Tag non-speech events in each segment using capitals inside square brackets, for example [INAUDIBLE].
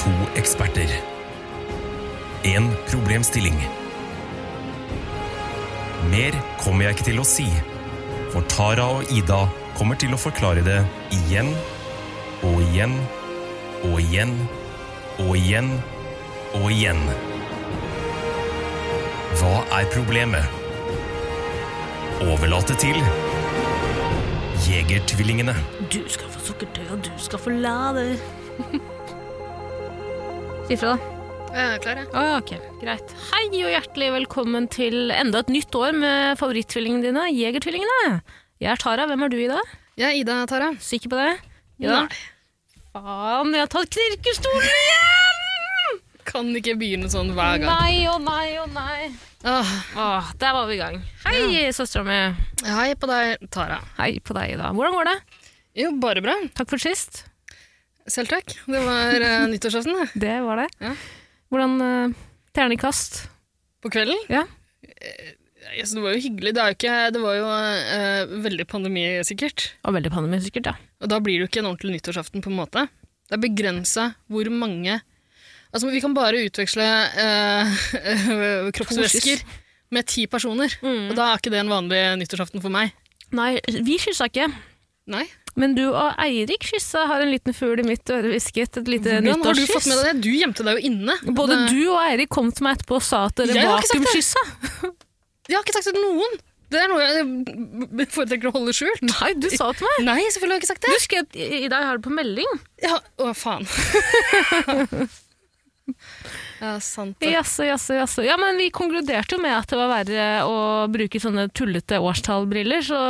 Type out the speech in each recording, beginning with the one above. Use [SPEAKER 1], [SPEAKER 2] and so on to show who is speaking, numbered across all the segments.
[SPEAKER 1] To eksperter. En problemstilling. Mer kommer jeg ikke til å si, for Tara og Ida kommer til å forklare det igjen og igjen og igjen og igjen og igjen. Hva er problemet? Overlate til Jegertvillingene.
[SPEAKER 2] Du skal få sukkertøy, og du skal få lade. [LAUGHS] Si ifra, da.
[SPEAKER 3] Jeg er klar, jeg.
[SPEAKER 2] Å, ok, greit. Hei og hjertelig velkommen til enda et nytt år med favorittvillingene dine, Jegertvillingene. Jeg er Tara, hvem er du i dag?
[SPEAKER 3] Jeg er Ida Tara.
[SPEAKER 2] Sikker på det? Ja.
[SPEAKER 3] Nei,
[SPEAKER 2] Faen, jeg har tatt knirkestolen igjen!
[SPEAKER 3] kan ikke begynne sånn hver gang.
[SPEAKER 2] Nei og nei og nei.
[SPEAKER 3] Åh,
[SPEAKER 2] Åh, der var vi i gang. Hei, søstera mi.
[SPEAKER 3] hei på deg, Tara.
[SPEAKER 2] Hei på deg, Ida. Hvordan går det?
[SPEAKER 3] Jo, bare bra.
[SPEAKER 2] Takk for sist.
[SPEAKER 3] Selv takk. Det var
[SPEAKER 2] [LAUGHS]
[SPEAKER 3] uh, nyttårsaften, det.
[SPEAKER 2] Det var det.
[SPEAKER 3] Ja.
[SPEAKER 2] Hvordan eh, Terningkast.
[SPEAKER 3] På kvelden.
[SPEAKER 2] Ja.
[SPEAKER 3] Ja, så det var jo hyggelig. Det, er jo ikke, det var jo eh, veldig pandemisikkert.
[SPEAKER 2] Og veldig pandemisikkert, ja.
[SPEAKER 3] Og da blir det jo ikke en ordentlig nyttårsaften, på en måte. Det er begrensa hvor mange Altså, vi kan bare utveksle eh, [LAUGHS] kroppsvæsker med ti personer.
[SPEAKER 2] Mm.
[SPEAKER 3] Og da er ikke det en vanlig nyttårsaften for meg.
[SPEAKER 2] Nei, vi kyssa ikke.
[SPEAKER 3] Nei.
[SPEAKER 2] Men du og Eirik kyssa har en liten fugl i mitt øre hvisket et lite
[SPEAKER 3] Hvordan har du fått med
[SPEAKER 2] nyttårskyss.
[SPEAKER 3] deg det? Du gjemte deg jo inne.
[SPEAKER 2] Både
[SPEAKER 3] Det-
[SPEAKER 2] du og Eirik kom til meg etterpå og sa at dere
[SPEAKER 3] Jeg har ikke sagt det.
[SPEAKER 2] vakuumkyssa.
[SPEAKER 3] Jeg har ikke sagt det til noen. Det er noe jeg foretrekker å holde skjult.
[SPEAKER 2] Nei, du sa til meg.
[SPEAKER 3] Nei, selvfølgelig har jeg ikke sagt
[SPEAKER 2] Du
[SPEAKER 3] det.
[SPEAKER 2] skrev at i i dag har du på melding.
[SPEAKER 3] Ja, å, faen.
[SPEAKER 2] [LAUGHS]
[SPEAKER 3] ja, sant det.
[SPEAKER 2] Jaså, jaså, jaså. Ja, men vi konkluderte jo med at det var verre å bruke sånne tullete årstallbriller, så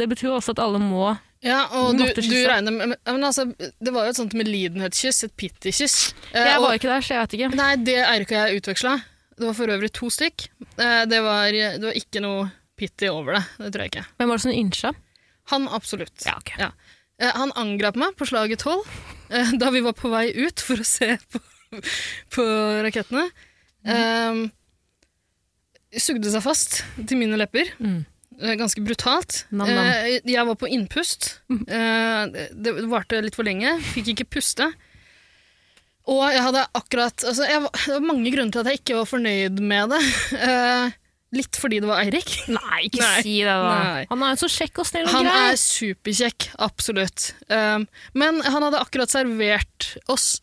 [SPEAKER 2] det betyr jo også at alle må
[SPEAKER 3] Ja, og du,
[SPEAKER 2] Måtte kysse.
[SPEAKER 3] du regner med men, men altså, Det var jo et sånt medlidenhetskyss, et pitty-kyss. Eh,
[SPEAKER 2] Jeg
[SPEAKER 3] og-
[SPEAKER 2] var jo ikke der, så jeg vet ikke.
[SPEAKER 3] Nei, det Eirik og jeg utveksla. Det var for øvrig to stykk. Eh, Det var, det var ikke noe pitty over det. Det tror jeg ikke.
[SPEAKER 2] Hvem var det som ynsja?
[SPEAKER 3] Han absolutt.
[SPEAKER 2] Ja, ok.
[SPEAKER 3] Ja. Eh, Han angrep meg på slaget 12 eh, da vi var på vei ut for å se på, på rakettene.
[SPEAKER 2] Mhm.
[SPEAKER 3] Eh, sugde seg fast til mine lepper.
[SPEAKER 2] Mm.
[SPEAKER 3] Eh, Ganske brutalt.
[SPEAKER 2] Nam, nam. Mhm.
[SPEAKER 3] Eh, Jeg var på innpust. Eh, Det det varte litt for lenge. Fikk ikke puste. Og jeg hadde akkurat altså jeg, var- Det var mange grunner til at jeg ikke var fornøyd med det. [LAUGHS] Eh, Litt fordi det var Eirik.
[SPEAKER 2] Nei, ikke
[SPEAKER 3] Nei.
[SPEAKER 2] si det, da.
[SPEAKER 3] Nei.
[SPEAKER 2] Han er jo så kjekk og snill og
[SPEAKER 3] Han
[SPEAKER 2] grei.
[SPEAKER 3] er superkjekk, absolutt. Um, men han hadde akkurat servert oss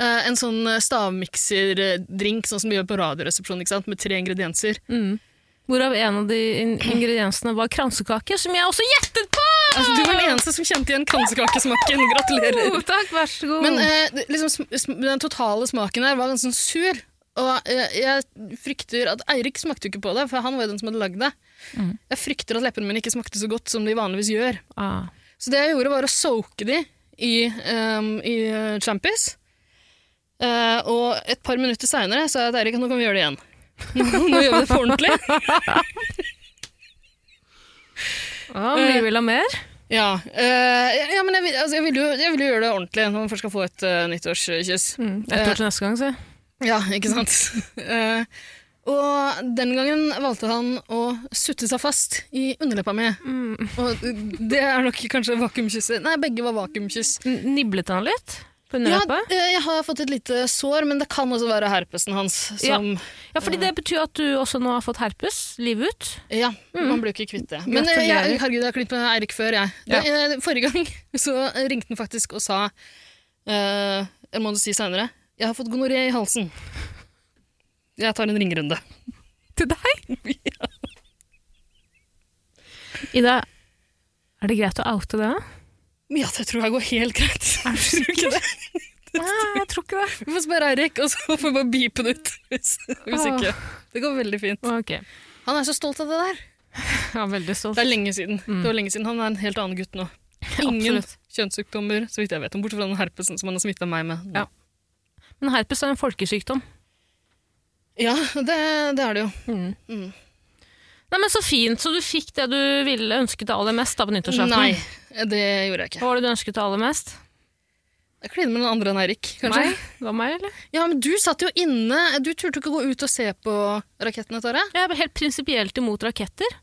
[SPEAKER 3] eh, en sånn stavmikserdrink, sånn som vi gjør på Radioresepsjonen, ikke sant? med tre ingredienser.
[SPEAKER 2] Mm. Hvorav en av de in ingrediensene var kransekake, som jeg også gjettet på!
[SPEAKER 3] Altså, du var den eneste som kjente igjen kransekakesmaken. Gratulerer.
[SPEAKER 2] Oh, [LAUGHS] takk, vær så god.
[SPEAKER 3] Men eh, det- liksom, sm- sm- den totale smaken her var ganske sånn sur. Og eh, jeg frykter at Eirik smakte jo ikke på det, for han var jo den som hadde lagd det. Jeg frykter at leppene mine ikke smakte så godt som de vanligvis gjør.
[SPEAKER 2] ah.
[SPEAKER 3] Så det jeg gjorde var å soake de i, um, i eh, champis. Eh, og et par minutter seinere sa jeg at Eirik, nå kan vi gjøre det igjen. [LAUGHS] Nå, nå gjør vi det for ordentlig.
[SPEAKER 2] Ah, mye vil ha mer.
[SPEAKER 3] Ja, eh, ja men jeg, vil- altså, jeg, ville jo, jeg ville jo gjøre det ordentlig når man først skal få et eh, nyttårskyss.
[SPEAKER 2] Mm. Ett år til neste gang, så.
[SPEAKER 3] Ja, ikke sant? [LAUGHS] Eh, og den gangen valgte han å sutte seg fast i underleppa mi.
[SPEAKER 2] mm.
[SPEAKER 3] Og det er nok kanskje vakuumkysset. Nei, begge var vakuumkyss.
[SPEAKER 2] N- Niblet han litt på
[SPEAKER 3] Ja,
[SPEAKER 2] underleppa?
[SPEAKER 3] eh, jeg har fått et lite sår, men det kan også være herpesen hans. Som,
[SPEAKER 2] Ja. fordi det betyr at du også nå har fått herpes livet ut.
[SPEAKER 3] ja. man blir jo ikke kvitt det. Men eh,
[SPEAKER 2] Gratulerer.
[SPEAKER 3] jeg, herregud, jeg har klint med Eirik før, jeg. Det, eh, forrige gang [LAUGHS] så ringte han faktisk og sa, eh, eller må du si seinere, jeg har fått gonoré i halsen. Jeg tar en ringerunde.
[SPEAKER 2] Til deg? [LAUGHS] Ida, er det greit å oute det? da?
[SPEAKER 3] Ja, det tror jeg går helt greit. [LAUGHS] Er du sikker?
[SPEAKER 2] Nei, jeg tror ikke det.
[SPEAKER 3] Vi får spørre Eirik, og så får vi bare beepe det ut. [LAUGHS] Hvis, hvis
[SPEAKER 2] Åh.
[SPEAKER 3] ikke. Det går veldig fint.
[SPEAKER 2] [LAUGHS] Ok,
[SPEAKER 3] Ah. Han er så stolt av det der.
[SPEAKER 2] jeg er veldig stolt.
[SPEAKER 3] Det er lenge siden. Det var lenge siden. Han er en helt annen gutt nå. Ingen
[SPEAKER 2] Mm. Absolutt.
[SPEAKER 3] kjønnssykdommer, så vidt jeg vet om, bortsett fra den herpesen som han har smitta meg med. nå.
[SPEAKER 2] Ja. Men herpes er en folkesykdom.
[SPEAKER 3] Ja, det, det er det jo.
[SPEAKER 2] Mm.
[SPEAKER 3] Mm.
[SPEAKER 2] Nei, men Så fint, så du fikk det du ville ønsket deg aller mest da på nyttårsaften?
[SPEAKER 3] Nei, det gjorde jeg ikke.
[SPEAKER 2] Hva var det du ønsket deg aller mest?
[SPEAKER 3] Jeg kliner med noen andre enn Eirik, kanskje.
[SPEAKER 2] Meg? Det var meg, eller?
[SPEAKER 3] Ja, men du satt jo inne. Du turte ikke gå ut og se på rakettene, Tare.
[SPEAKER 2] Jeg er helt prinsipielt imot raketter.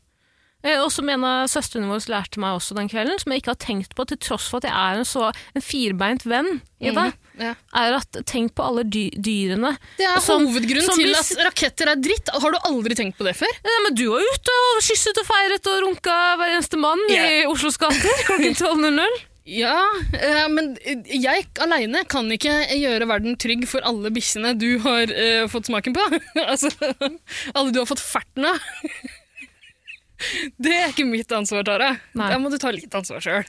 [SPEAKER 2] Eh, Og som en av søstrene våre lærte meg også den kvelden, som jeg ikke har tenkt på til tross for at jeg er en så en firbeint venn i det.
[SPEAKER 3] Ja.
[SPEAKER 2] er at tenk på alle dy dyrene.
[SPEAKER 3] Det er
[SPEAKER 2] Som-
[SPEAKER 3] hovedgrunnen
[SPEAKER 2] som
[SPEAKER 3] til
[SPEAKER 2] hvis-
[SPEAKER 3] at raketter er dritt. Har du aldri tenkt på det før?
[SPEAKER 2] Ja, men du var ute og kysset og feiret og runka hver eneste mann i Oslos gater
[SPEAKER 3] [LAUGHS]
[SPEAKER 2] klokken 12.00.
[SPEAKER 3] Ja, eh, men jeg aleine kan ikke gjøre verden trygg for alle bikkjene du har eh, fått smaken på. [LAUGHS] altså, alle du har fått ferten av. [LAUGHS] Det er ikke mitt ansvar, Tara.
[SPEAKER 2] Nei.
[SPEAKER 3] Der må du ta litt ansvar sjøl.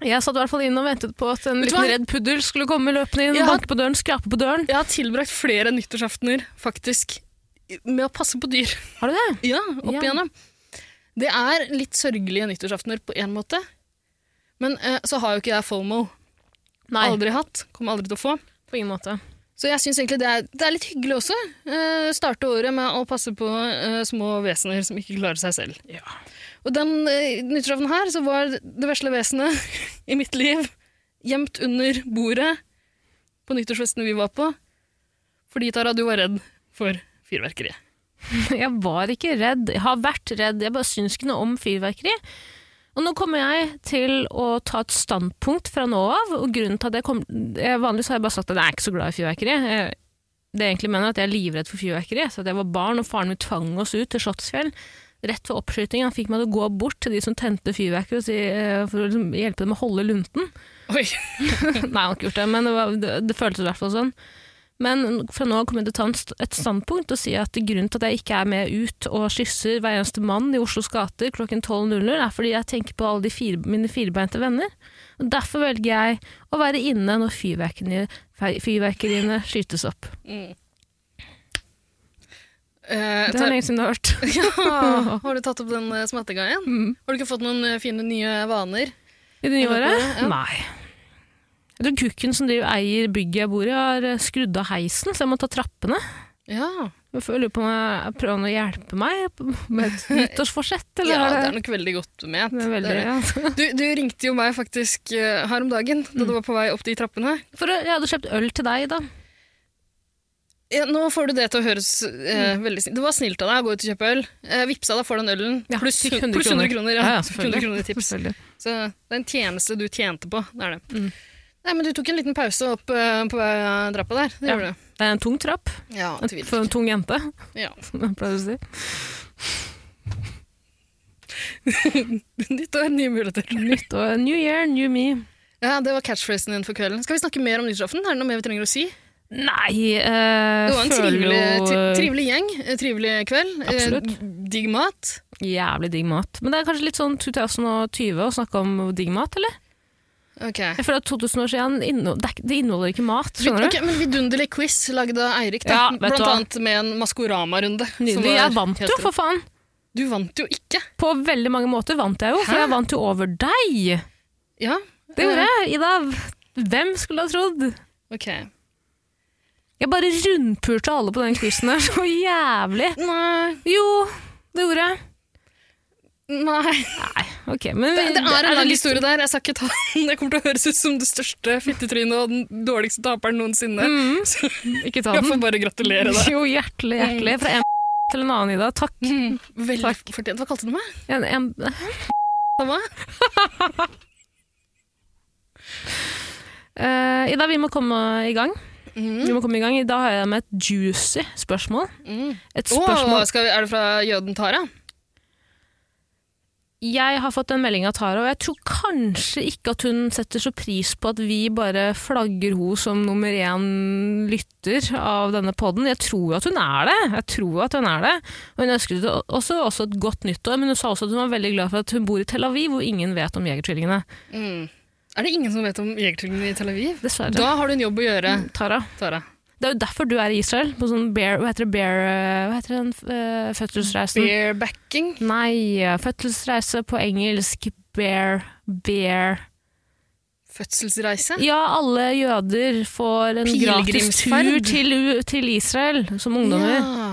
[SPEAKER 2] Jeg satt i hvert fall inne og ventet på at en
[SPEAKER 3] Vet du
[SPEAKER 2] liten
[SPEAKER 3] hva?
[SPEAKER 2] redd puddel skulle komme løpende inn
[SPEAKER 3] Ja.
[SPEAKER 2] og banke på døren, skrape på døren.
[SPEAKER 3] Jeg har tilbrakt flere nyttårsaftener faktisk med å passe på dyr. [LAUGHS]
[SPEAKER 2] Har du det?
[SPEAKER 3] Ja, opp
[SPEAKER 2] Ja.
[SPEAKER 3] igjennom. Det er litt sørgelige nyttårsaftener på én måte. Men eh, så har jo ikke jeg FOMO.
[SPEAKER 2] Nei,
[SPEAKER 3] Aldri hatt. Kommer aldri til å få.
[SPEAKER 2] på ingen måte.
[SPEAKER 3] Så jeg syns egentlig det er, det er litt hyggelig også. Eh, starte året med å passe på eh, små vesener som ikke klarer seg selv. Og den eh, nyttårsaften her så var det vesle vesenet [LAUGHS] i mitt liv gjemt under bordet på nyttårsfesten vi var på. Fordi, Tara, du var redd for fyrverkeriet.
[SPEAKER 2] [LAUGHS] Jeg var ikke redd. Jeg har vært redd. Jeg bare syns ikke noe om fyrverkeri. Og nå kommer jeg til å ta et standpunkt fra nå av. og grunnen til at jeg kom, jeg Vanligvis har jeg bare sagt at jeg er ikke så glad i fyrverkeri. Jeg- Det jeg egentlig mener er at jeg er livredd for fyrverkeri. Så at jeg var barn og faren min tvang oss ut til Slottsfjell rett ved oppskytingen. Han fikk meg til å gå bort til de som tente fyrverkeri og si, eh, for å liksom hjelpe dem å holde lunten.
[SPEAKER 3] Oi!
[SPEAKER 2] Nei, jeg har ikke gjort det, men det, var, det, det føltes i hvert fall sånn. Men fra nå av kommer jeg til å ta en st- et standpunkt og si at grunnen til at jeg ikke er med ut og kysser hver eneste mann i Oslos gater klokken 12.00, er fordi jeg tenker på alle de fire, mine firbeinte venner. Og derfor velger jeg å være inne når fyrverkeriene, fe- fyrverkeriene skytes opp.
[SPEAKER 3] Eh,
[SPEAKER 2] Det
[SPEAKER 3] Tara-
[SPEAKER 2] er lenge siden du har
[SPEAKER 3] [LAUGHS]
[SPEAKER 2] hørt.
[SPEAKER 3] Ja, [LAUGHS] har du tatt opp den eh, smattegangen? Har du ikke fått noen eh, fine nye vaner?
[SPEAKER 2] I det nye
[SPEAKER 3] Er det
[SPEAKER 2] året?
[SPEAKER 3] det? Ja.
[SPEAKER 2] Nei. Jeg tror kukken som driver eier bygget jeg bor i, har eh, skrudd av heisen, så jeg må ta trappene.
[SPEAKER 3] Ja,
[SPEAKER 2] Jeg føler på om jeg prøver han å hjelpe meg med
[SPEAKER 3] [LAUGHS]
[SPEAKER 2] et nyttårsforsett, eller?
[SPEAKER 3] ja det
[SPEAKER 2] er
[SPEAKER 3] er nok veldig godt ment.
[SPEAKER 2] det er veldig,
[SPEAKER 3] Det er det.
[SPEAKER 2] ja.
[SPEAKER 3] Du, du ringte jo meg faktisk eh, her om dagen,
[SPEAKER 2] Mm.
[SPEAKER 3] da du var på vei opp de trappene.
[SPEAKER 2] For jeg hadde kjøpt øl til deg, da.
[SPEAKER 3] Ja, nå får du det til å høres eh,
[SPEAKER 2] Mm.
[SPEAKER 3] veldig snilt Det var snilt av deg å gå ut og kjøpe øl. Eh, Vipsa deg for den ølen.
[SPEAKER 2] Ja,
[SPEAKER 3] pluss
[SPEAKER 2] fikk 100
[SPEAKER 3] pluss 100 kroner. Ja,
[SPEAKER 2] Ja, ja, selvfølgelig.
[SPEAKER 3] 100 kroner i tips.
[SPEAKER 2] Selvfølgelig.
[SPEAKER 3] Så det er en tjeneste du tjente på. Det er det.
[SPEAKER 2] Mm.
[SPEAKER 3] Nei, men du tok en liten pause opp eh, på vei av trappa der. Det
[SPEAKER 2] Ja.
[SPEAKER 3] gjorde du.
[SPEAKER 2] Det er en tung trapp
[SPEAKER 3] Ja,
[SPEAKER 2] for
[SPEAKER 3] [LAUGHS]
[SPEAKER 2] en tung jente,
[SPEAKER 3] Ja.
[SPEAKER 2] [LAUGHS] som jeg pleier å si.
[SPEAKER 3] Nytt år, nye muligheter.
[SPEAKER 2] Nytt år, new year, new me.
[SPEAKER 3] Ja, Det var catchphrasen din for kvelden. Skal vi snakke mer om nyttårsaften? Er det noe mer vi trenger å si?
[SPEAKER 2] Nei, eh,
[SPEAKER 3] Det var en
[SPEAKER 2] føler
[SPEAKER 3] trivelig,
[SPEAKER 2] jo
[SPEAKER 3] tri
[SPEAKER 2] eh,
[SPEAKER 3] trivelig gjeng, eh, trivelig kveld. eh,
[SPEAKER 2] Absolutt.
[SPEAKER 3] Digg mat.
[SPEAKER 2] jævlig digg mat. Men det er kanskje litt sånn 2020 å snakke om digg mat, eller?
[SPEAKER 3] Ok.
[SPEAKER 2] Jeg føler at 2000 år siden inneho det, er ikke- det inneholder ikke mat, skjønner
[SPEAKER 3] Ok, men Vidunderlig quiz lagd av Eirik, da.
[SPEAKER 2] Ja, vet
[SPEAKER 3] blant
[SPEAKER 2] du hva?
[SPEAKER 3] annet med en Maskorama-runde.
[SPEAKER 2] du?
[SPEAKER 3] som
[SPEAKER 2] Nydelig.
[SPEAKER 3] var
[SPEAKER 2] Jeg vant
[SPEAKER 3] helt
[SPEAKER 2] jo,
[SPEAKER 3] rå.
[SPEAKER 2] for faen.
[SPEAKER 3] Du vant jo ikke.
[SPEAKER 2] På veldig mange måter vant jeg jo, for
[SPEAKER 3] Hæ?
[SPEAKER 2] jeg vant jo over deg.
[SPEAKER 3] Ja,
[SPEAKER 2] Det gjorde jeg, Ida. Hvem skulle ha trodd?
[SPEAKER 3] ok.
[SPEAKER 2] Jeg bare rundpurte alle på den quizen der, så jævlig.
[SPEAKER 3] Nei,
[SPEAKER 2] Jo, det gjorde jeg.
[SPEAKER 3] nei.
[SPEAKER 2] Nei, ok. Men
[SPEAKER 3] Det, det er en lang
[SPEAKER 2] litt-
[SPEAKER 3] historie der. Jeg skal ikke ta den. Det kommer til å høres ut som det største fittetrynet og den dårligste taperen noensinne.
[SPEAKER 2] Mhm,
[SPEAKER 3] Så
[SPEAKER 2] [LAUGHS] ikke ta
[SPEAKER 3] jeg
[SPEAKER 2] den.
[SPEAKER 3] får bare gratulere deg.
[SPEAKER 2] Jo, hjertelig, hjertelig. Fra en til en annen, Ida. [LAUGHS] Takk.
[SPEAKER 3] Veldig
[SPEAKER 2] Takk.
[SPEAKER 3] fortjent. Hva kalte du meg?
[SPEAKER 2] En, en,
[SPEAKER 3] Hva?
[SPEAKER 2] Eh, Ida, vi må komme i gang.
[SPEAKER 3] Mm.
[SPEAKER 2] Vi må komme i gang. I dag har jeg med et juicy spørsmål.
[SPEAKER 3] Mm.
[SPEAKER 2] Et
[SPEAKER 3] Åh,
[SPEAKER 2] spørsmål.
[SPEAKER 3] skal vi, er det fra jøden Tara?
[SPEAKER 2] Jeg har fått en melding av Tara, og jeg tror kanskje ikke at hun setter så pris på at vi bare flagger hun som nummer én lytter av denne podden. Jeg tror at hun er det. Jeg tror at hun er det. Og hun ønsket det også, også et godt nyttår, men hun sa også at hun var veldig glad for at hun bor i Tel Aviv, hvor ingen vet om Jegertvillingene.
[SPEAKER 3] Mm. Er det ingen som vet om jegertvillingene i Tel Aviv?
[SPEAKER 2] Dessverre.
[SPEAKER 3] Da har du en jobb å gjøre,
[SPEAKER 2] Tara.
[SPEAKER 3] Tara.
[SPEAKER 2] Det er jo derfor du er i Israel, på sånn bear, hva heter det, bear, eh, hva heter den eh, fødselsreisen?
[SPEAKER 3] Barebacking.
[SPEAKER 2] Nei, fødselsreise på engelsk. Bear, bear.
[SPEAKER 3] Fødselsreise.
[SPEAKER 2] [LAUGHS] Ja, alle jøder får en gratis
[SPEAKER 3] Pilgrimsferd.
[SPEAKER 2] tur til, U- til Israel som ungdommer.
[SPEAKER 3] Ja.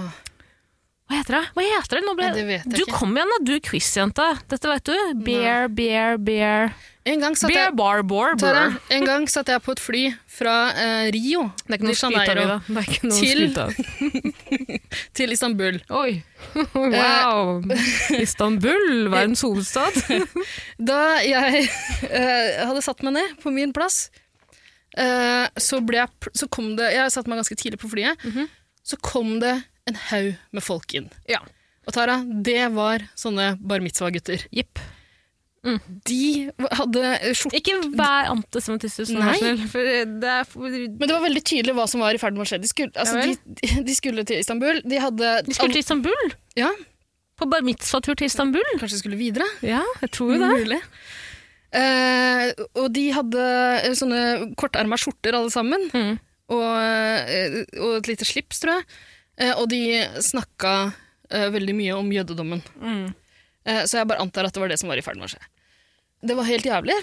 [SPEAKER 2] Hva heter det? Hva heter det? Nå ble...
[SPEAKER 3] Nei, det vet jeg
[SPEAKER 2] du
[SPEAKER 3] ikke.
[SPEAKER 2] kom igjen, da. Du er quizjenta. Dette vet du. Bear, bear, bear.
[SPEAKER 3] En gang satt
[SPEAKER 2] Bear,
[SPEAKER 3] jeg,
[SPEAKER 2] bar, bar,
[SPEAKER 3] Tara,
[SPEAKER 2] bar.
[SPEAKER 3] en gang satt jeg på et fly fra eh, Rio
[SPEAKER 2] Det er ikke noe å
[SPEAKER 3] de
[SPEAKER 2] skryte av,
[SPEAKER 3] Janeiro
[SPEAKER 2] Ida. Det er ikke noe å
[SPEAKER 3] Til-
[SPEAKER 2] skryte av.
[SPEAKER 3] til Istanbul.
[SPEAKER 2] Oi.
[SPEAKER 3] [LAUGHS]
[SPEAKER 2] Wow. Istanbul, verdens hovedstad.
[SPEAKER 3] [LAUGHS] Da jeg eh, hadde satt meg ned på min plass, eh, eh, så, ble jeg, pl- så kom det Jeg satte meg ganske tidlig på flyet.
[SPEAKER 2] Mhm.
[SPEAKER 3] Så kom det en haug med folk inn.
[SPEAKER 2] Ja.
[SPEAKER 3] Og Tara, det var sånne bar mitzvah-gutter.
[SPEAKER 2] Jepp.
[SPEAKER 3] De hadde eh, skjorte
[SPEAKER 2] Ikke vær antisemittistisk, sånn,
[SPEAKER 3] Nei.
[SPEAKER 2] vær snill, for det er for-
[SPEAKER 3] Men det var veldig tydelig hva som var i ferd med å skje. De skulle, altså,
[SPEAKER 2] Ja vel.
[SPEAKER 3] de, de skulle til Istanbul. De hadde
[SPEAKER 2] De skulle til Istanbul?
[SPEAKER 3] Ja,
[SPEAKER 2] På bar mitzvah-tur til Istanbul?
[SPEAKER 3] kanskje de skulle videre.
[SPEAKER 2] Ja, jeg tror jo det.
[SPEAKER 3] Mulig. Eh, og de hadde eh, sånne korterma skjorter alle sammen,
[SPEAKER 2] Mm.
[SPEAKER 3] og, eh, og et lite slips, tror jeg. Eh, og de snakka eh, veldig mye om jødedommen.
[SPEAKER 2] Mm.
[SPEAKER 3] Eh, så jeg bare antar at det var det som var i ferd med å skje. Det var helt jævlig.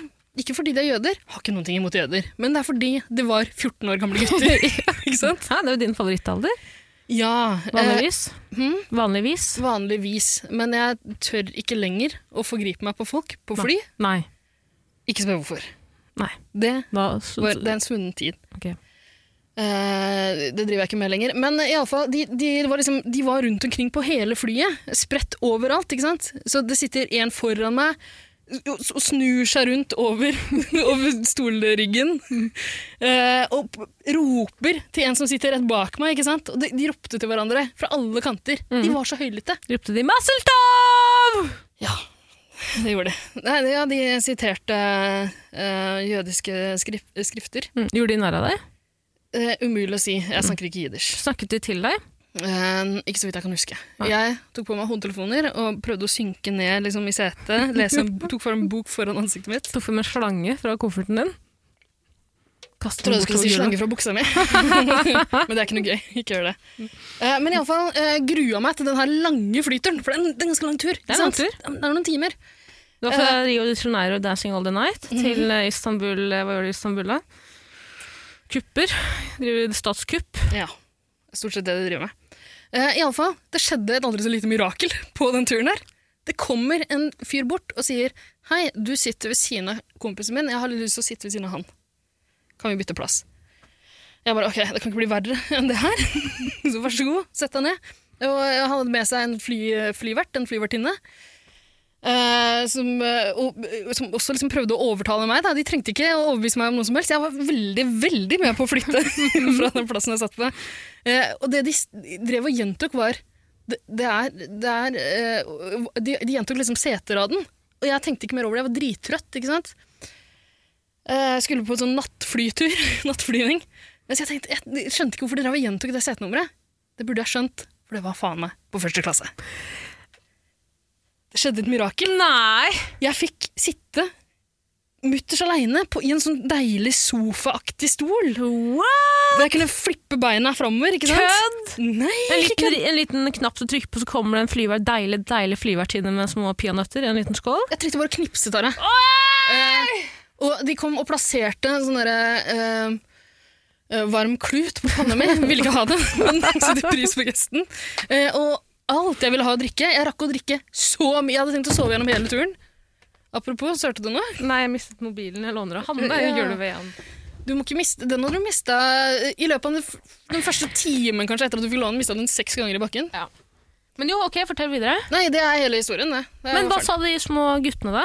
[SPEAKER 3] Ikke fordi de er jøder, har ikke noen ting imot jøder, men det er fordi det var 14 år
[SPEAKER 2] [LAUGHS]
[SPEAKER 3] gamle gutter. ikke sant?
[SPEAKER 2] Ja, det er jo din favorittalder.
[SPEAKER 3] Ja, eh,
[SPEAKER 2] Vanligvis.
[SPEAKER 3] hm?
[SPEAKER 2] Vanligvis.
[SPEAKER 3] vanligvis. Men jeg tør ikke lenger å forgripe meg på folk på fly.
[SPEAKER 2] Nei.
[SPEAKER 3] Ikke spør hvorfor.
[SPEAKER 2] Nei.
[SPEAKER 3] Det
[SPEAKER 2] Da, så,
[SPEAKER 3] var, det er en svunnen tid.
[SPEAKER 2] Ok.
[SPEAKER 3] Eh, det driver jeg ikke med lenger. Men i alle fall, de, de, var liksom, de var rundt omkring på hele flyet. Spredt overalt, ikke sant? Så det sitter en foran meg og og snur seg rundt over, [LAUGHS] over stolryggen. Eh, og p- roper til en som sitter rett bak meg. ikke sant? Og de, de ropte til hverandre fra alle kanter. De
[SPEAKER 2] Mhm.
[SPEAKER 3] var så høylytte.
[SPEAKER 2] ropte de 'Masseltov!'
[SPEAKER 3] Ja, det gjorde de. Nei, ja, de siterte eh, jødiske skrif skrifter.
[SPEAKER 2] Mm. Gjorde de narr av deg?
[SPEAKER 3] Eh, umulig å si. Jeg snakker ikke jiddish.
[SPEAKER 2] Snakket de til deg?
[SPEAKER 3] Eh, ikke så vidt jeg kan huske.
[SPEAKER 2] Nei.
[SPEAKER 3] Jeg tok på meg hodetelefoner og prøvde å synke ned liksom, i setet. Lese en, tok for en bok foran ansiktet mitt.
[SPEAKER 2] Tok frem en slange fra kofferten din? Kastet
[SPEAKER 3] Trodde
[SPEAKER 2] den
[SPEAKER 3] jeg
[SPEAKER 2] bort
[SPEAKER 3] skulle si
[SPEAKER 2] over
[SPEAKER 3] slange
[SPEAKER 2] gulvet.
[SPEAKER 3] fra buksa mi. [LAUGHS] men det er ikke noe gøy. Ikke gjør det. Eh, men iallfall uh, grua meg til den her lange flyturen, for det er en, det er en ganske lang tur. ikke
[SPEAKER 2] er en lang
[SPEAKER 3] sant? Eh. Det er noen timer.
[SPEAKER 2] Det var fra Rio de Janeiro 'Dancing All The Night'
[SPEAKER 3] Mhm.
[SPEAKER 2] til eh, Istanbul eh, Hva gjør du i Istanbul, da? Kupper. Driver Statskupp.
[SPEAKER 3] Ja, stort sett det de driver med. Eh, i alle fall, det skjedde et aldri så lite mirakel [LAUGHS] på den turen her. Det kommer en fyr bort og sier «Hei, du sitter ved siden av kompisen min, jeg har litt lyst til å sitte ved siden av han. Kan vi bytte plass?» Jeg bare «Ok, det kan ikke bli verre [LAUGHS] enn det her». så vær så god, sett deg ned. Og han hadde med seg en fly, flyvert, en flyvertinne, eh, som, eh, og, som også liksom prøvde å overtale meg. Da. De trengte ikke å overbevise meg om noe som helst. Jeg var veldig, veldig med på å flytte [LAUGHS] fra den plassen jeg satt på. Eh, og det de s- drev og gjentok var Det, det er, det er eh, de, de gjentok liksom seteraden. Og jeg tenkte ikke mer over det. Jeg var drittrøtt, ikke sant. Eh, Jeg skulle på en sånn nattflytur. [LAUGHS] Nattflyvning. Så jeg, tenkte, jeg skjønte ikke hvorfor de drev og gjentok det setenummeret. Det burde jeg skjønt, for det var faen meg på første klasse. Det skjedde et mirakel.
[SPEAKER 2] Nei!
[SPEAKER 3] Jeg fikk sitte mutters aleine i en sånn deilig sofaaktig stol.
[SPEAKER 2] What?
[SPEAKER 3] Der jeg kunne flippe beina framover, ikke sant?
[SPEAKER 2] Kødd!
[SPEAKER 3] Nei,
[SPEAKER 2] En
[SPEAKER 3] ikke kødd.
[SPEAKER 2] liten, en liten knapp du trykker på, så kommer det en flyver, deilig deilig flyvertinne med små peanøtter i en liten skål.
[SPEAKER 3] Jeg trengte bare å knipse, Tara. Eh, og de kom og plasserte en sånn derre eh, eh, varm klut på panna mi. [LAUGHS] Ville ikke ha den, men [LAUGHS] satte pris på gesten. Eh, og alt jeg ville ha å drikke. Jeg rakk å drikke så mye. Jeg hadde tenkt å sove gjennom hele turen. Apropos, så hørte du noe?
[SPEAKER 2] Nei, jeg mistet mobilen. Jeg låner av Hanne.
[SPEAKER 3] Ja.
[SPEAKER 2] Jeg gjør det ved han.
[SPEAKER 3] Du må ikke miste, Den hadde du mista i løpet av den, f- den første timen kanskje etter at du fikk låne den. Mista den seks ganger i bakken.
[SPEAKER 2] Men jo, ok, fortell videre.
[SPEAKER 3] Nei, det er hele historien, det. det er
[SPEAKER 2] Men
[SPEAKER 3] jo
[SPEAKER 2] hva
[SPEAKER 3] ferdig.
[SPEAKER 2] sa de små guttene, da?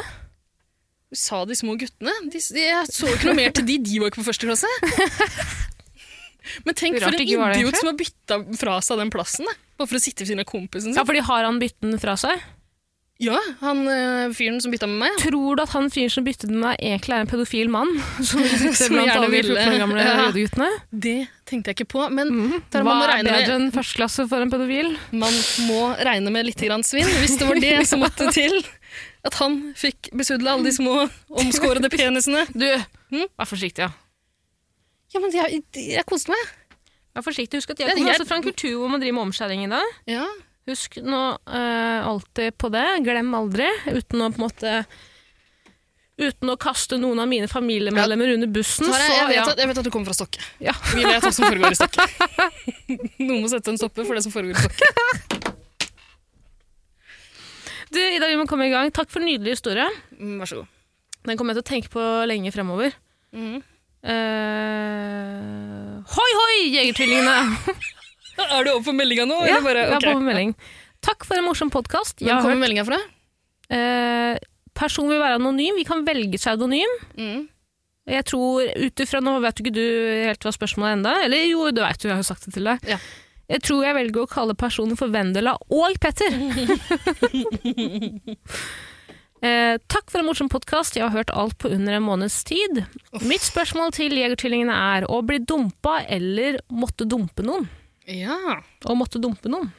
[SPEAKER 3] Sa de små guttene? De, de, jeg så ikke noe mer til de, de var ikke på
[SPEAKER 2] [LAUGHS]
[SPEAKER 3] første klasse. Men tenk
[SPEAKER 2] Rart
[SPEAKER 3] for en
[SPEAKER 2] ikke var det,
[SPEAKER 3] idiot
[SPEAKER 2] egentlig.
[SPEAKER 3] som har bytta fra seg den plassen, da. bare for å sitte ved siden av kompisen
[SPEAKER 2] Ja,
[SPEAKER 3] sin.
[SPEAKER 2] fordi Har han bytten fra seg?
[SPEAKER 3] Ja, han øh, fyren som bytta med meg,
[SPEAKER 2] Tror du at han fyren som byttet med deg, egentlig er en pedofil mann? [LAUGHS] Som sitter
[SPEAKER 3] Som
[SPEAKER 2] blant
[SPEAKER 3] gjerne
[SPEAKER 2] alle de
[SPEAKER 3] ville-
[SPEAKER 2] 14 [LAUGHS] år gamle
[SPEAKER 3] Ja.
[SPEAKER 2] jødeguttene?
[SPEAKER 3] det tenkte jeg ikke på. Men der
[SPEAKER 2] Hva
[SPEAKER 3] man, må
[SPEAKER 2] Mhm. er
[SPEAKER 3] regne
[SPEAKER 2] bedre
[SPEAKER 3] med,
[SPEAKER 2] enn førsteklasse for en pedofil?
[SPEAKER 3] man må regne med litt grann svinn, hvis det var det som måtte til. At han fikk besudle alle de små omskårede penisene.
[SPEAKER 2] Du, vær forsiktig, ja.
[SPEAKER 3] Ja, men jeg, jeg koste meg.
[SPEAKER 2] Vær forsiktig, Husk at jeg
[SPEAKER 3] Det er
[SPEAKER 2] kommer
[SPEAKER 3] jeg-
[SPEAKER 2] også fra en kultur hvor man driver med omskjæring i dag.
[SPEAKER 3] Ja.
[SPEAKER 2] Husk nå eh, alltid på det. Glem aldri. Uten å på en måte Uten å kaste noen av mine familiemedlemmer under bussen,
[SPEAKER 3] Tara,
[SPEAKER 2] så
[SPEAKER 3] jeg, vet
[SPEAKER 2] ja.
[SPEAKER 3] at, jeg vet at du kommer fra Stokke. [LAUGHS]
[SPEAKER 2] Ja.
[SPEAKER 3] Vi vet hva som foregår i [LAUGHS] Stokke. Noen må sette en stopper for det som foregår i Stokke.
[SPEAKER 2] Du, Ida, vi må komme i gang. Takk for en nydelig historie.
[SPEAKER 3] Mm, Vær så god.
[SPEAKER 2] Den kommer jeg til å tenke på lenge fremover.
[SPEAKER 3] Mhm.
[SPEAKER 2] Eh, hoi, hoi,
[SPEAKER 3] [LAUGHS]
[SPEAKER 2] Jegertvillingene!
[SPEAKER 3] Er du over på meldinga nå?
[SPEAKER 2] ja,
[SPEAKER 3] eller bare,
[SPEAKER 2] jeg har
[SPEAKER 3] ok.
[SPEAKER 2] på med melding. Takk for en morsom podkast.
[SPEAKER 3] Hvem kommer meldinga fra?
[SPEAKER 2] Eh, person vil være anonym. Vi kan velge pseudonym.
[SPEAKER 3] Mm.
[SPEAKER 2] Eh, Jeg tror, ut ifra nå vet jo ikke du helt hva spørsmålet er enda, eller jo, du vet jo, jeg har jo sagt det til deg.
[SPEAKER 3] Ja.
[SPEAKER 2] Jeg tror jeg velger å kalle personen for Vendela og Petter. eh, takk for en morsom podkast. Jeg har hørt alt på under en måneds tid. Mitt spørsmål til Jegertvillingene er å bli dumpa eller måtte dumpe noen.
[SPEAKER 3] Ja.
[SPEAKER 2] Å måtte dumpe noen.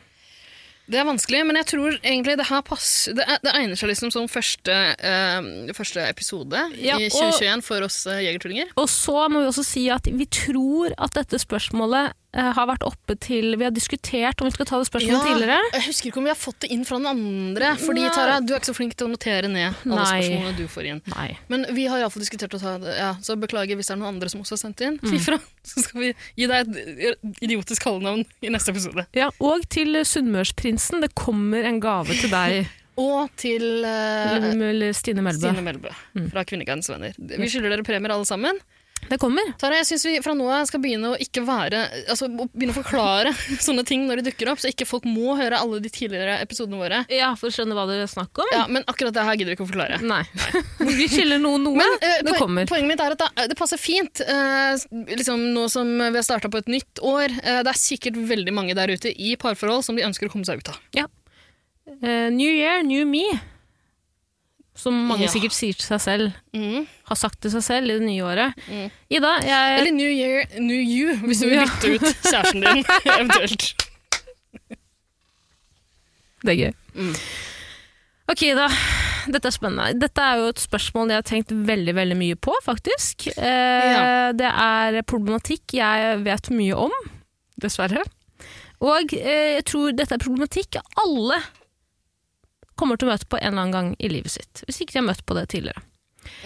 [SPEAKER 3] Det er vanskelig, men jeg tror egentlig det her pass, det, er- det egner seg liksom som første, eh, første episode
[SPEAKER 2] Ja,
[SPEAKER 3] i
[SPEAKER 2] og-
[SPEAKER 3] 2021 for oss eh, jegertullinger.
[SPEAKER 2] Og så må vi også si at vi tror at dette spørsmålet eh, har vært oppe til Vi har diskutert om vi skal ta det spørsmålet tidligere.
[SPEAKER 3] Jeg husker ikke om vi har fått det inn fra den andre, fordi
[SPEAKER 2] Nei.
[SPEAKER 3] Tara, du er ikke så flink til å notere ned alle
[SPEAKER 2] Nei.
[SPEAKER 3] spørsmålene du får inn.
[SPEAKER 2] Nei.
[SPEAKER 3] Men vi har iallfall diskutert å ta det, ja, så beklager hvis det er noen andre som også har sendt inn. [LAUGHS] Si fra, så skal vi gi deg et idiotisk kallenavn i neste episode.
[SPEAKER 2] Ja, og til Sunnmørsprinsen. Det kommer en gave til deg,
[SPEAKER 3] Og til [LAUGHS] eh,
[SPEAKER 2] Mel- Stine Melbø.
[SPEAKER 3] Stine Melbø Mm. fra Kvinnegardens Venner. Vi skylder dere premier alle sammen.
[SPEAKER 2] Det kommer.
[SPEAKER 3] Tara, jeg synes vi fra nå av skal begynne å ikke være Altså å begynne å forklare [LAUGHS] sånne ting når de dukker opp, så ikke folk må høre alle de tidligere episodene våre.
[SPEAKER 2] Ja, for å skjønne hva dere snakker om.
[SPEAKER 3] Ja, Men akkurat det her gidder vi ikke å forklare.
[SPEAKER 2] Nei. [LAUGHS] vi skiller noe noe.
[SPEAKER 3] Men eh,
[SPEAKER 2] det
[SPEAKER 3] poen-
[SPEAKER 2] kommer.
[SPEAKER 3] poenget mitt er at det, det passer fint, eh, liksom nå som vi har starta på et nytt år. Eh, det er sikkert veldig mange der ute i parforhold som de ønsker å komme seg ut av.
[SPEAKER 2] Eh, new year, new me. Som mange
[SPEAKER 3] Ja.
[SPEAKER 2] sikkert sier til seg selv.
[SPEAKER 3] Mm.
[SPEAKER 2] Har sagt til seg selv i det nye året.
[SPEAKER 3] Mm.
[SPEAKER 2] Ida, jeg
[SPEAKER 3] Eller New Year, New You, hvis du vil
[SPEAKER 2] Ja.
[SPEAKER 3] bytte ut kjæresten [LAUGHS] din, eventuelt.
[SPEAKER 2] Det er gøy.
[SPEAKER 3] Mm.
[SPEAKER 2] Ok, da. Dette er spennende. Dette er jo et spørsmål jeg har tenkt veldig veldig mye på, faktisk. Eh,
[SPEAKER 3] Ja.
[SPEAKER 2] Det er problematikk jeg vet mye om, dessverre. Og eh, jeg tror dette er problematikk alle kommer til å møte på en eller annen gang i livet sitt. Hvis ikke de har møtt på det tidligere.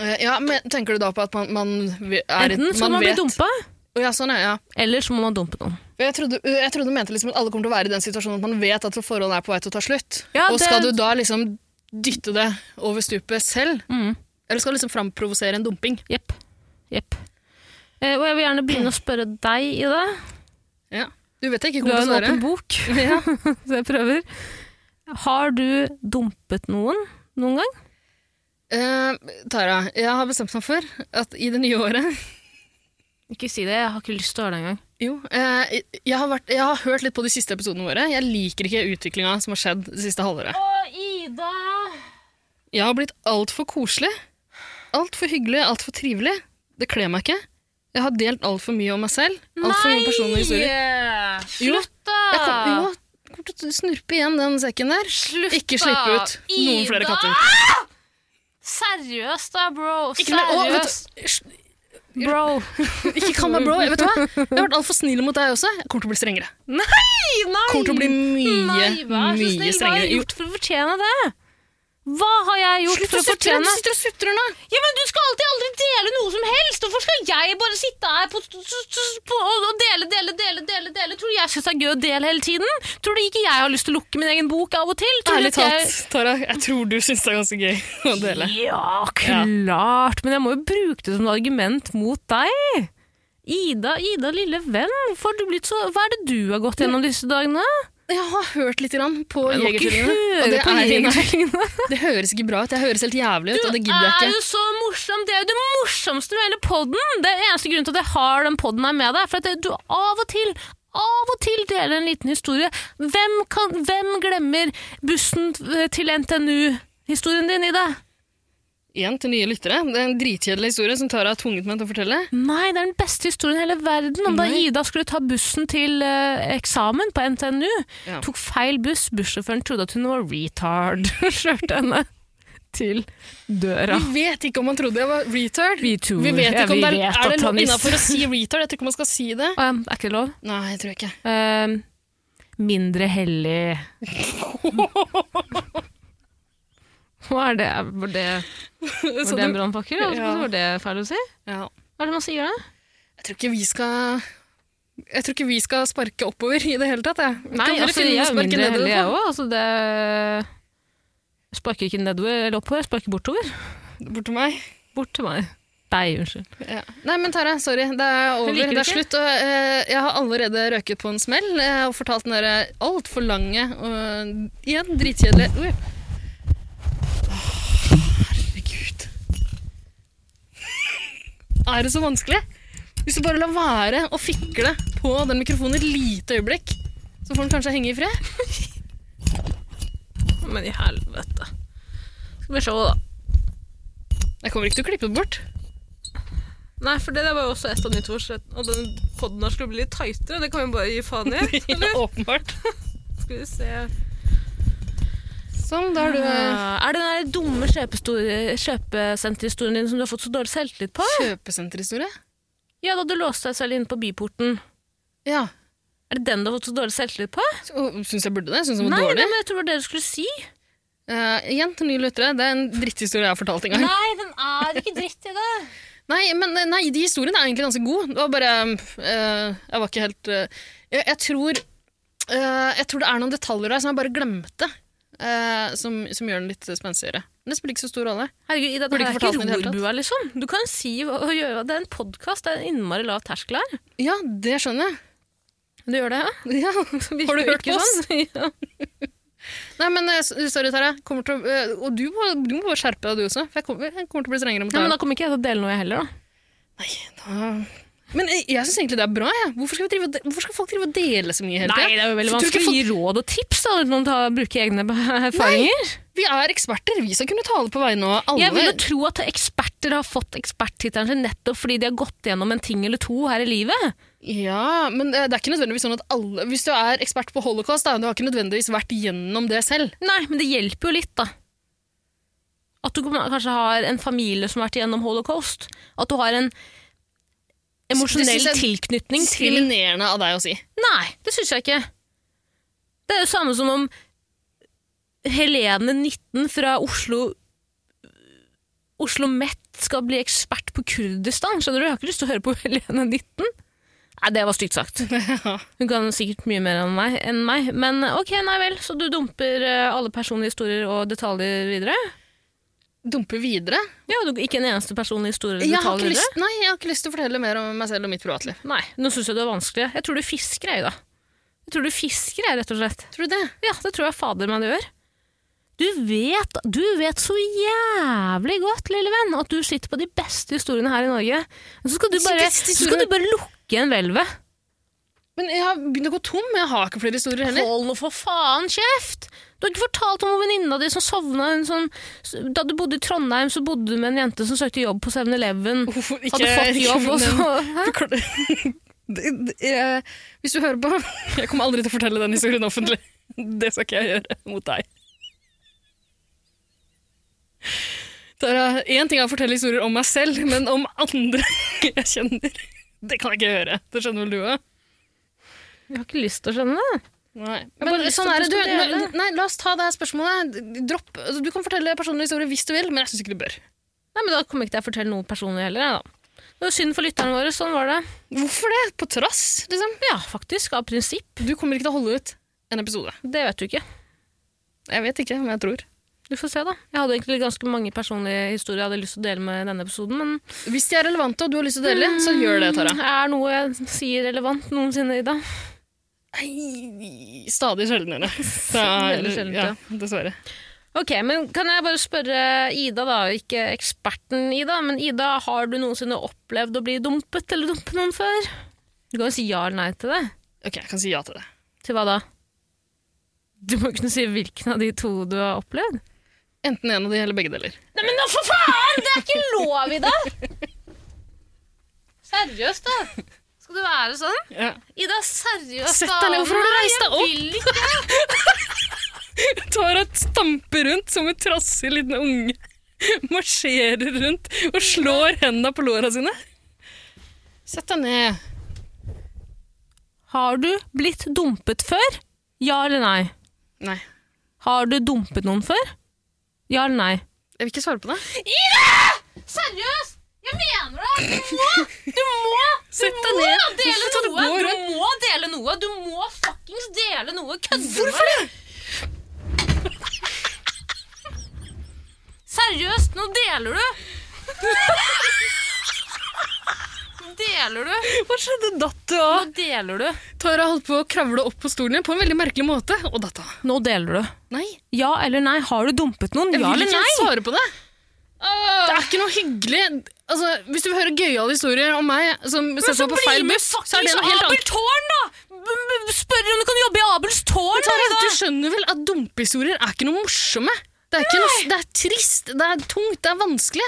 [SPEAKER 3] Eh, ja, men Tenker du da på at man, man vi- er
[SPEAKER 2] Enten så må man bli dumpa,
[SPEAKER 3] Å, ja, sånn, ja, ja.
[SPEAKER 2] eller så må man dumpe noen.
[SPEAKER 3] For Jeg trodde, jeg trodde du mente liksom at alle kommer til å være i den situasjonen at man vet at forholdet er på vei til å ta slutt.
[SPEAKER 2] Ja,
[SPEAKER 3] og
[SPEAKER 2] det-
[SPEAKER 3] skal du da liksom dytte det over stupet selv?
[SPEAKER 2] Mm.
[SPEAKER 3] Eller skal du liksom framprovosere en dumping?
[SPEAKER 2] Jepp. Jepp. Eh, og jeg vil gjerne begynne å spørre deg, Ida.
[SPEAKER 3] Ja. Du vet jeg ikke
[SPEAKER 2] Du
[SPEAKER 3] kommer
[SPEAKER 2] har
[SPEAKER 3] til
[SPEAKER 2] en
[SPEAKER 3] å svare.
[SPEAKER 2] åpen
[SPEAKER 3] [LAUGHS]
[SPEAKER 2] bok.
[SPEAKER 3] Ja.
[SPEAKER 2] Så jeg prøver. Har du dumpet noen noen gang?
[SPEAKER 3] Eh, Tara, jeg har bestemt meg for at i det nye året [LAUGHS]
[SPEAKER 2] Ikke si det, jeg har ikke lyst til å høre det engang.
[SPEAKER 3] Jo, eh, jeg, har vært, jeg har hørt litt på de siste episodene våre. Jeg liker ikke utviklinga som har skjedd det siste halvåret.
[SPEAKER 2] Å, Ida!
[SPEAKER 3] Jeg har blitt altfor koselig. Altfor hyggelig, altfor trivelig. Det kler meg ikke. Jeg har delt altfor mye om meg selv. Altfor mye personlige historier. Jo,
[SPEAKER 2] Slutt, da!
[SPEAKER 3] Jeg kom, jo, jeg kommer til å snurpe igjen den sekken der.
[SPEAKER 2] Slutt,
[SPEAKER 3] Ikke slippe ut noen flere katter.
[SPEAKER 2] Seriøst, da, bro.
[SPEAKER 3] Ikke, mer- å, vet
[SPEAKER 2] Seriøst.
[SPEAKER 3] du, hysj,
[SPEAKER 2] Bro.
[SPEAKER 3] ikke kall meg bro. Vet du hva? Jeg har vært altfor snill mot deg også. Jeg kommer til å bli strengere.
[SPEAKER 2] Nei!
[SPEAKER 3] Kommer til å bli mye,
[SPEAKER 2] Nei, vær så snill,
[SPEAKER 3] mye
[SPEAKER 2] Hva har
[SPEAKER 3] strengere.
[SPEAKER 2] jeg gjort for å fortjene det? Hva har jeg gjort
[SPEAKER 3] Slutt å
[SPEAKER 2] for å
[SPEAKER 3] sutre! Du
[SPEAKER 2] fortjene
[SPEAKER 3] sitter og sutrer nå.
[SPEAKER 2] Ja, men Du skal alltid aldri dele noe som helst! Hvorfor skal jeg bare sitte her på, på, og dele, dele, dele? dele, dele? Tror du jeg syns det er gøy å dele hele tiden? Tror du ikke jeg har lyst til å lukke min egen bok av og til? Tror du
[SPEAKER 3] Ærlig
[SPEAKER 2] at
[SPEAKER 3] talt,
[SPEAKER 2] jeg...
[SPEAKER 3] Tara, jeg tror du syns det er ganske gøy å dele.
[SPEAKER 2] Ja, klart! Men jeg må jo bruke det som et argument mot deg. Ida, Ida, lille venn, hvorfor har du blitt så... hva er det du har gått gjennom disse dagene?
[SPEAKER 3] Jeg har hørt litt grann på
[SPEAKER 2] Jeg må ikke
[SPEAKER 3] Jegertvillingene. og
[SPEAKER 2] høre
[SPEAKER 3] det
[SPEAKER 2] på
[SPEAKER 3] er-
[SPEAKER 2] Jegertvillingene.
[SPEAKER 3] nei, Det høres ikke bra ut. Jeg høres helt jævlig ut, og det gidder jeg
[SPEAKER 2] er
[SPEAKER 3] ikke.
[SPEAKER 2] jo så morsom. Det er jo det morsomste med hele podden. Det er eneste grunnen til at jeg har den podden her med deg. For at det- du av og til, av og til deler en liten historie. Hvem, kan, hvem glemmer bussen eh, til NTNU-historien din i det?
[SPEAKER 3] Igjen til nye lyttere. Det er en dritkjedelig historie som Tara har tvunget meg til å fortelle.
[SPEAKER 2] Nei, det er den beste historien i hele verden. Om da
[SPEAKER 3] Nei.
[SPEAKER 2] Ida skulle ta bussen til eh, eksamen på NTNU,
[SPEAKER 3] Ja.
[SPEAKER 2] tok feil buss. Bussjåføren trodde at hun var retard. [LAUGHS] Kjørte henne til døra.
[SPEAKER 3] Vi vet ikke om han trodde jeg var retard.
[SPEAKER 2] Vi tror-
[SPEAKER 3] Vi
[SPEAKER 2] ja,
[SPEAKER 3] vet
[SPEAKER 2] vi
[SPEAKER 3] ikke om det
[SPEAKER 2] vet
[SPEAKER 3] er,
[SPEAKER 2] at
[SPEAKER 3] er det lov
[SPEAKER 2] han is-
[SPEAKER 3] innafor å si retard. Jeg tror ikke man skal si det.
[SPEAKER 2] Å, ja, er ikke det lov?
[SPEAKER 3] Nei, jeg tror ikke.
[SPEAKER 2] Eh, mindre [LAUGHS] hellig. Hva er det? Var det, var
[SPEAKER 3] Så
[SPEAKER 2] det en
[SPEAKER 3] du-
[SPEAKER 2] brannpakke? Ja.
[SPEAKER 3] Ja.
[SPEAKER 2] Var det feil å si?
[SPEAKER 3] ja.
[SPEAKER 2] Hva er det man sier da?
[SPEAKER 3] Jeg tror ikke vi skal Jeg tror ikke vi skal sparke oppover i det hele tatt. Jeg.
[SPEAKER 2] Nei,
[SPEAKER 3] Kan dere
[SPEAKER 2] altså,
[SPEAKER 3] finne
[SPEAKER 2] jeg
[SPEAKER 3] noe
[SPEAKER 2] er jo
[SPEAKER 3] sparke
[SPEAKER 2] mindre
[SPEAKER 3] nedover
[SPEAKER 2] hellig,
[SPEAKER 3] på?
[SPEAKER 2] jeg òg. Altså, det jeg sparker ikke nedover eller oppover, jeg sparker bortover.
[SPEAKER 3] Bort til meg.
[SPEAKER 2] Bort til meg. Nei, unnskyld.
[SPEAKER 3] Ja. Nei, men Tara, sorry. Det er over.
[SPEAKER 2] liker
[SPEAKER 3] Det
[SPEAKER 2] du
[SPEAKER 3] er
[SPEAKER 2] ikke?
[SPEAKER 3] slutt. Og, eh, jeg har allerede røket på en smell eh, og fortalt den derre altfor lange og eh, igjen dritkjedelige Oi. Åh, Herregud. er det så vanskelig? Hvis du bare lar være å fikle på den mikrofonen et lite øyeblikk, så får den kanskje henge i fred.
[SPEAKER 2] Men i helvete. Skal vi se, da.
[SPEAKER 3] Jeg kommer ikke til å klippe det bort.
[SPEAKER 2] Nei, for det der var jo også et av nyttårsrettene. Og den podden her skulle bli litt tightere. Det kan vi bare gi faen i. [LAUGHS]
[SPEAKER 3] Ja,
[SPEAKER 2] eller?
[SPEAKER 3] åpenbart.
[SPEAKER 2] Skal vi se.
[SPEAKER 3] Sånn, da har du eh,
[SPEAKER 2] er det den der dumme kjøpestor- kjøpesenterhistorien din som du har fått så dårlig selvtillit på?
[SPEAKER 3] kjøpesenterhistorie.
[SPEAKER 2] Ja, da du låste deg selv inne på byporten.
[SPEAKER 3] Ja.
[SPEAKER 2] Er det den du har fått så dårlig selvtillit på?
[SPEAKER 3] oh, Syns jeg burde det? Syns jeg var
[SPEAKER 2] Nei,
[SPEAKER 3] dårlig?
[SPEAKER 2] nei, men jeg tror det var det du skulle si.
[SPEAKER 3] Eh, igjen til nye lyttere, det er en dritthistorie jeg har fortalt en gang.
[SPEAKER 2] Nei, den er ikke dritt i det.
[SPEAKER 3] Nei, men eh, nei, de historiene er egentlig ganske gode. Det var bare eh, Jeg var ikke helt eh, jeg, jeg tror eh, Jeg tror det er noen detaljer der som jeg bare glemte, eh, som, som gjør den litt spenstigere. Men det spiller ikke så stor rolle.
[SPEAKER 2] Herregud, Ida, det
[SPEAKER 3] Burde
[SPEAKER 2] her
[SPEAKER 3] ikke
[SPEAKER 2] er ikke
[SPEAKER 3] fortalt den i det hele tatt.
[SPEAKER 2] rorbua, liksom. Du kan si hva- og gjøre hva- Det er en podkast, det er en innmari lav terskel her.
[SPEAKER 3] Ja, det skjønner jeg.
[SPEAKER 2] Du gjør det, ja?
[SPEAKER 3] [LAUGHS] Ja. Har du hørt på oss?
[SPEAKER 2] sånn? [LAUGHS] ja.
[SPEAKER 3] sånn. Nei, men eh, s- sorry, Tara. Kommer til å, eh, og du må, du må bare skjerpe deg, du også. For jeg kommer, jeg kommer til å bli strengere mot
[SPEAKER 2] Nei, men
[SPEAKER 3] deg.
[SPEAKER 2] da kommer ikke jeg til å dele noe, jeg heller, da.
[SPEAKER 3] Men, jeg, jeg syns egentlig det er bra. Jeg. Hvorfor, skal vi drive, og de- hvorfor skal folk drive og dele så mye hele
[SPEAKER 2] Nei,
[SPEAKER 3] tiden?
[SPEAKER 2] det er jo veldig
[SPEAKER 3] Så tror du
[SPEAKER 2] vanskelig
[SPEAKER 3] ikke
[SPEAKER 2] å gi råd og tips da, uten å ta, bruke egne erfaringer.
[SPEAKER 3] Vi er eksperter. Vi skal kunne tale på vegne av alle.
[SPEAKER 2] Jeg vil jo tro at eksperter har fått eksperttittelen sin nettopp fordi de har gått gjennom en ting eller to her i livet.
[SPEAKER 3] Ja, men eh, det er ikke nødvendigvis sånn at alle Hvis du er ekspert på holocaust, da, du har ikke nødvendigvis vært gjennom det selv.
[SPEAKER 2] Nei, men det hjelper jo litt, da. At du kom- kanskje har en familie som har vært gjennom holocaust. At du har en
[SPEAKER 3] Det
[SPEAKER 2] emosjonell
[SPEAKER 3] synes jeg-
[SPEAKER 2] tilknytning til
[SPEAKER 3] Diskriminerende av deg å si. [LAUGHS]
[SPEAKER 2] Nei, det syns jeg ikke. Det er jo samme som om Helene 19 fra Oslo Oslo Met skal bli ekspert på Kurdistan. Skjønner du? Jeg har ikke lyst til å høre på Helene 19. Nei, det var stygt sagt.
[SPEAKER 3] Ja.
[SPEAKER 2] Hun kan sikkert mye mer enn meg. Enn meg. Men ok, nei vel. Så du dumper eh, alle personlige historier og detaljer videre?
[SPEAKER 3] Dumpe videre?
[SPEAKER 2] Ja, du, Ikke en eneste personlig historie eller
[SPEAKER 3] Jeg har,
[SPEAKER 2] detalj
[SPEAKER 3] ikke
[SPEAKER 2] videre?
[SPEAKER 3] lyst, nei, jeg har ikke lyst til å fortelle mer om meg selv og mitt privatliv.
[SPEAKER 2] Nei, nå syns jeg det er vanskelig. Jeg tror du fisker, jeg, da. Jeg tror du fisker, jeg, rett og slett.
[SPEAKER 3] Tror du det?
[SPEAKER 2] Ja, det tror jeg fader meg det gjør. Du vet, du vet så jævlig godt, lille venn, at du sitter på de beste historiene her i Norge. Men så skal du
[SPEAKER 3] De
[SPEAKER 2] bare,
[SPEAKER 3] beste
[SPEAKER 2] så skal
[SPEAKER 3] historiene.
[SPEAKER 2] du bare lukke igjen hvelvet.
[SPEAKER 3] Men jeg har begynt å gå tom. Jeg har ikke flere historier heller.
[SPEAKER 2] Hold nå for faen kjeft! Du har ikke fortalt om venninna di som sovna en sånn Da du bodde i Trondheim, så bodde du med en jente som søkte jobb på 7-Eleven.
[SPEAKER 3] Hvorfor ikke-
[SPEAKER 2] Hadde [LAUGHS] fått jobb, og så
[SPEAKER 3] [LAUGHS]
[SPEAKER 2] [LAUGHS] Hæ?
[SPEAKER 3] Det- det- jeg- Hvis du hører på [LAUGHS] Jeg kommer aldri til å fortelle den historien offentlig. [LAUGHS] Det skal ikke jeg gjøre mot deg. Tara, én ting er å fortelle historier om meg selv, men om andre [LAUGHS] jeg kjenner Det kan jeg ikke gjøre. Det skjønner vel du òg?
[SPEAKER 2] Jeg har ikke lyst til å skjønne det.
[SPEAKER 3] Nei.
[SPEAKER 2] Jeg bare
[SPEAKER 3] Men,
[SPEAKER 2] har lyst til
[SPEAKER 3] sånn
[SPEAKER 2] at du
[SPEAKER 3] er det.
[SPEAKER 2] skal
[SPEAKER 3] Du,
[SPEAKER 2] dele.
[SPEAKER 3] nei, la oss ta det her spørsmålet. Dropp. altså, Du kan fortelle personlige historier hvis du vil, men jeg syns ikke du bør.
[SPEAKER 2] Nei, men Da kommer ikke jeg til å fortelle noe personlig heller. jeg, Da. Det var synd for lytterne våre. Sånn var det.
[SPEAKER 3] Hvorfor det? På trass, liksom?
[SPEAKER 2] Ja, faktisk. Av prinsipp.
[SPEAKER 3] Du kommer ikke til å holde ut en episode.
[SPEAKER 2] Det vet du ikke.
[SPEAKER 3] Jeg vet ikke, men jeg tror.
[SPEAKER 2] Du får se, da. Jeg hadde egentlig ganske mange personlige historier jeg hadde lyst til å dele med i denne episoden, men
[SPEAKER 3] Hvis de er relevante og du har lyst til å dele, så gjør det, Tara.
[SPEAKER 2] er noe jeg sier relevant noensinne, Ida?
[SPEAKER 3] Nei, Stadig [LAUGHS] sjeldnere.
[SPEAKER 2] Veldig
[SPEAKER 3] Så,
[SPEAKER 2] sjeldent,
[SPEAKER 3] ja,
[SPEAKER 2] ja.
[SPEAKER 3] dessverre.
[SPEAKER 2] Ok, men Kan jeg bare spørre Ida, da, ikke eksperten Ida, men Ida, har du noensinne opplevd å bli dumpet eller dumpe noen før? Du kan jo si ja eller nei til det.
[SPEAKER 3] Ok, jeg kan si ja til det.
[SPEAKER 2] Til hva da? Du må kunne si hvilken av de to du har opplevd.
[SPEAKER 3] Enten en av de eller begge deler.
[SPEAKER 2] Nei, men nå for faen! Det er ikke lov, Ida! Seriøst, da. Skal det være sånn?
[SPEAKER 3] Ja.
[SPEAKER 2] Ida, seriøst
[SPEAKER 3] Sett deg ned, hvorfor har du
[SPEAKER 2] Nei,
[SPEAKER 3] reist deg opp?
[SPEAKER 2] Jeg vil ikke.
[SPEAKER 3] Tara stamper rundt som en trassig liten unge. [LAUGHS] Marsjerer rundt og slår hendene på låra sine. Sett deg ned.
[SPEAKER 2] Har du blitt dumpet før? Ja eller nei?
[SPEAKER 3] Nei,
[SPEAKER 2] Har du dumpet noen før? Ja eller nei?
[SPEAKER 3] jeg vil ikke svare på det.
[SPEAKER 2] Seriøst! Jeg mener det! Du må, du må,
[SPEAKER 3] Sett deg ned. Hvorfor skal
[SPEAKER 2] dele
[SPEAKER 3] du gå
[SPEAKER 2] noe!
[SPEAKER 3] rundt?
[SPEAKER 2] Du må dele noe! Du må fuckings dele noe! Kødder du
[SPEAKER 3] Hvorfor
[SPEAKER 2] med meg? Seriøst, nå deler du! Nå deler du!
[SPEAKER 3] Hva skjedde? Datt du
[SPEAKER 2] Nå
[SPEAKER 3] av?
[SPEAKER 2] deler du!
[SPEAKER 3] Tara holdt på å kravle opp på stolen igjen på en veldig merkelig måte, og datt av.
[SPEAKER 2] Nå deler du.
[SPEAKER 3] Nei.
[SPEAKER 2] Ja eller nei? Har du dumpet noen?
[SPEAKER 3] Jeg
[SPEAKER 2] Ja
[SPEAKER 3] vil
[SPEAKER 2] eller
[SPEAKER 3] ikke
[SPEAKER 2] nei?
[SPEAKER 3] svare på det. Det er ikke noe hyggelig altså, Hvis du vil høre gøyale historier om meg som setter meg på feil buss, så er det noe helt annet.
[SPEAKER 2] Abeltårn, da! B- b- Spør om du kan jobbe i Abels tårn!
[SPEAKER 3] Tara,
[SPEAKER 2] da.
[SPEAKER 3] Du skjønner vel at dumpehistorier er ikke noe morsomme? Det er, ikke noe, det er trist, det er tungt, det er vanskelig.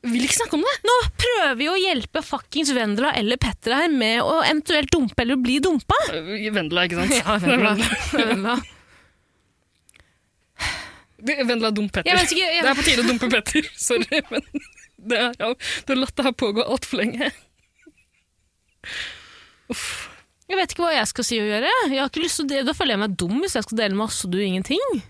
[SPEAKER 3] Jeg vil ikke snakke om det.
[SPEAKER 2] Nå prøver vi å hjelpe fuckings Vendela eller Petter her med å eventuelt dumpe eller bli dumpa.
[SPEAKER 3] Eh, Vendela, ikke [LAUGHS] sant?
[SPEAKER 2] [LAUGHS] Vendela.
[SPEAKER 3] Vendela dum Petter.
[SPEAKER 2] Jeg vet ikke, jeg-
[SPEAKER 3] Det er på tide å dumpe Petter. [LAUGHS] Sorry, men det er, ja, du har latt det her pågå altfor lenge.
[SPEAKER 2] Jeg vet ikke hva jeg skal si og gjøre. Jeg har ikke lyst til å dele. Da føler jeg meg dum hvis jeg skal dele masse og du ingenting.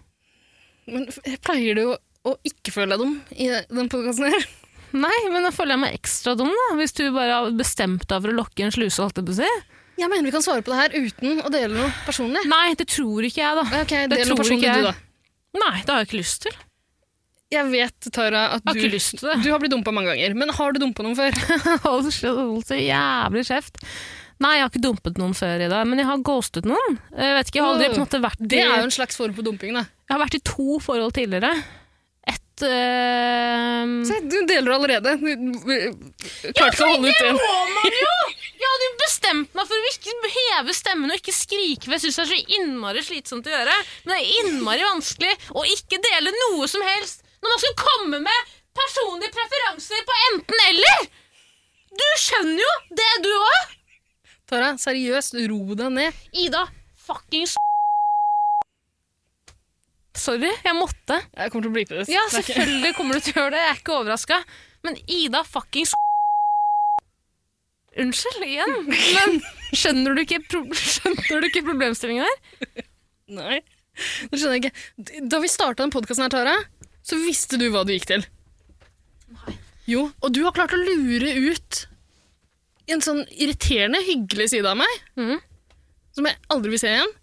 [SPEAKER 3] Men jeg pleier det jo å ikke føle deg dum i den podkasten her.
[SPEAKER 2] Nei, men da føler jeg meg ekstra dum, da. Hvis du bare har bestemt deg for å lokke en sluse, holdt jeg på å si.
[SPEAKER 3] Jeg mener vi kan svare på det her uten å dele noe personlig.
[SPEAKER 2] Nei, det tror ikke jeg, da.
[SPEAKER 3] Ok,
[SPEAKER 2] Det
[SPEAKER 3] del noe
[SPEAKER 2] tror
[SPEAKER 3] personlig
[SPEAKER 2] ikke jeg.
[SPEAKER 3] du, da.
[SPEAKER 2] Nei, det har jeg ikke lyst til. Jeg
[SPEAKER 3] Jeg vet, Tara, at
[SPEAKER 2] har
[SPEAKER 3] du,
[SPEAKER 2] ikke lyst til det.
[SPEAKER 3] du har blitt dumpa mange ganger. Men har du dumpa noen før?
[SPEAKER 2] [LAUGHS] Hold hold så jævlig kjeft. Nei, jeg har ikke dumpet noen før i dag, men jeg har ghostet noen. Jeg vet ikke, jeg har aldri på en måte vært
[SPEAKER 3] Det
[SPEAKER 2] i,
[SPEAKER 3] er jo en slags form for dumping, da.
[SPEAKER 2] Jeg har vært i to forhold tidligere. Et øh,
[SPEAKER 3] Se, du deler allerede. Du klarte ikke å holde ut det.
[SPEAKER 2] man jo! Jeg hadde jo bestemt meg for å ikke heve stemmen og ikke skrike, for jeg syns det er så innmari slitsomt å gjøre. Men det er innmari vanskelig å ikke dele noe som helst når man skal komme med personlige preferanser på enten-eller! Du skjønner jo det, du òg!
[SPEAKER 3] Tara, seriøst, ro deg ned.
[SPEAKER 2] Ida, fuckings Sorry, jeg måtte.
[SPEAKER 3] Jeg kommer til å blipe det.
[SPEAKER 2] Ja,
[SPEAKER 3] Det er ikke-
[SPEAKER 2] selvfølgelig kommer du til å gjøre det. Jeg er ikke overraska. Men Ida fuckings Unnskyld [LAUGHS] igjen, men skjønner du ikke, pro [LAUGHS] skjønner du ikke problemstillinga her?
[SPEAKER 3] Nei, det skjønner jeg ikke. Da vi starta den podkasten her, Tara, så visste du hva du gikk til. Jo, og du har klart å lure ut en sånn irriterende, hyggelig side av meg,
[SPEAKER 2] Mhm.
[SPEAKER 3] som jeg aldri vil se igjen,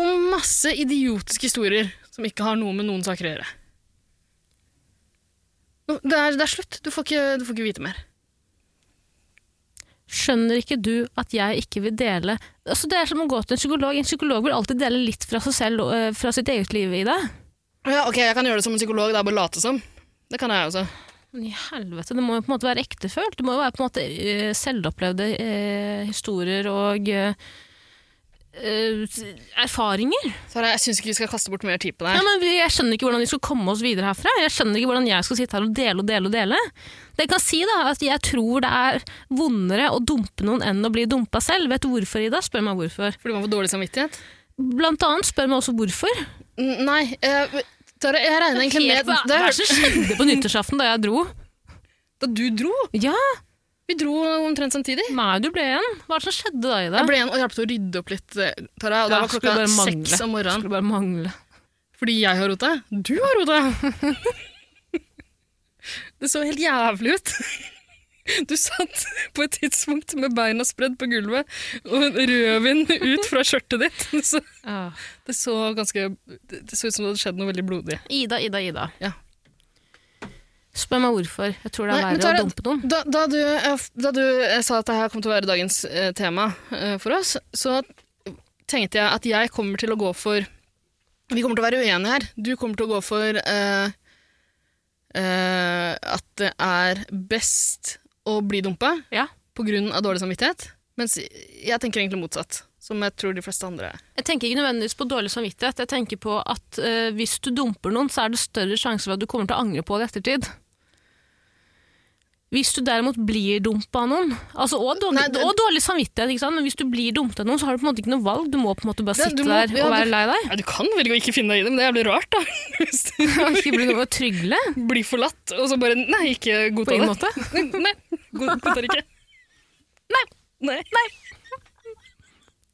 [SPEAKER 3] og masse idiotiske historier som ikke har noe med noen saker å gjøre. Nå, Det er, det er slutt. Du får, ikke, du får ikke vite mer.
[SPEAKER 2] Skjønner ikke du at jeg ikke vil dele altså, Det er som å gå til en psykolog. En psykolog vil alltid dele litt fra seg selv og eh, fra sitt eget liv, Ida.
[SPEAKER 3] Ja, ok, Jeg kan gjøre det som en psykolog, det er bare å late som. Det kan jeg også.
[SPEAKER 2] Men i helvete, det må jo på en måte være ektefølt. Det må jo være på en måte eh, selvopplevde eh, historier og eh, eh, erfaringer.
[SPEAKER 3] Tara, jeg syns ikke vi skal kaste bort mer tid på deg.
[SPEAKER 2] Ja, men vi- jeg skjønner ikke hvordan vi skal komme oss videre herfra. Jeg skjønner ikke hvordan jeg skal sitte her og dele og dele og dele. Det jeg kan si da, er at jeg tror det er vondere å dumpe noen enn å bli dumpa selv. Vet du hvorfor, Ida? Spør meg hvorfor.
[SPEAKER 3] Fordi man får dårlig samvittighet?
[SPEAKER 2] Blant annet spør meg også hvorfor.
[SPEAKER 3] N- Nei, eh, Tara, jeg regner egentlig med
[SPEAKER 2] Helt hva-
[SPEAKER 3] det
[SPEAKER 2] Hva er
[SPEAKER 3] er-
[SPEAKER 2] det som skjedde på nyttårsaften da jeg dro?
[SPEAKER 3] Da du dro?
[SPEAKER 2] Ja,
[SPEAKER 3] Vi dro omtrent samtidig.
[SPEAKER 2] nei, du ble igjen. Hva er det som skjedde da, Ida?
[SPEAKER 3] Jeg ble igjen og hjalp til å rydde opp litt, eh, Tara. Og da
[SPEAKER 2] Ja,
[SPEAKER 3] var
[SPEAKER 2] skulle bare
[SPEAKER 3] klokka
[SPEAKER 2] mangle.
[SPEAKER 3] seks om morgenen.
[SPEAKER 2] Skulle bare mangle.
[SPEAKER 3] Fordi jeg har rota. Du har rota! [LAUGHS] det så helt jævlig ut. [LAUGHS] Du satt på et tidspunkt med beina spredd på gulvet og rødvin ut fra skjørtet ditt. [LAUGHS] Så
[SPEAKER 2] Åh.
[SPEAKER 3] det så ganske Det det så ut som det hadde skjedd noe veldig blodig.
[SPEAKER 2] Ida, Ida, Ida.
[SPEAKER 3] Ja.
[SPEAKER 2] Spør meg hvorfor. Jeg tror det er
[SPEAKER 3] Nei,
[SPEAKER 2] verre
[SPEAKER 3] men
[SPEAKER 2] å
[SPEAKER 3] Tara,
[SPEAKER 2] dumpe noen.
[SPEAKER 3] Da, da du, eh, f- da du eh, sa at dette kom til å være dagens eh, tema eh, for oss, så tenkte jeg at jeg kommer til å gå for Vi kommer til å være uenige her. Du kommer til å gå for eh, eh, at det er best å bli dumpa
[SPEAKER 2] Ja.
[SPEAKER 3] pga. dårlig samvittighet, mens jeg tenker egentlig motsatt. Som jeg tror de fleste andre er.
[SPEAKER 2] Jeg tenker ikke nødvendigvis på dårlig samvittighet. Jeg tenker på at eh, hvis du dumper noen, så er det større sjanse for at du kommer til å angre på det i ettertid. Hvis du derimot blir dumpa av noen, altså og dårlig,
[SPEAKER 3] Nei, det-
[SPEAKER 2] og dårlig samvittighet, ikke sant? men hvis du blir dumpet av noen, så har du på en måte ikke noe valg. Du må på en måte bare
[SPEAKER 3] Det-
[SPEAKER 2] sitte
[SPEAKER 3] du må-
[SPEAKER 2] der og
[SPEAKER 3] ja,
[SPEAKER 2] være
[SPEAKER 3] du-
[SPEAKER 2] lei deg.
[SPEAKER 3] Ja, du kan velge å ikke finne deg i det, men det er jævlig rart, da. [LAUGHS] Hvis du [LAUGHS]
[SPEAKER 2] Ikke bli noe trygle
[SPEAKER 3] blir forlatt, og så bare Nei, ikke
[SPEAKER 2] på
[SPEAKER 3] godta
[SPEAKER 2] en
[SPEAKER 3] det.
[SPEAKER 2] måte.
[SPEAKER 3] Nei, god- godtar ikke.
[SPEAKER 2] Nei.
[SPEAKER 3] Nei.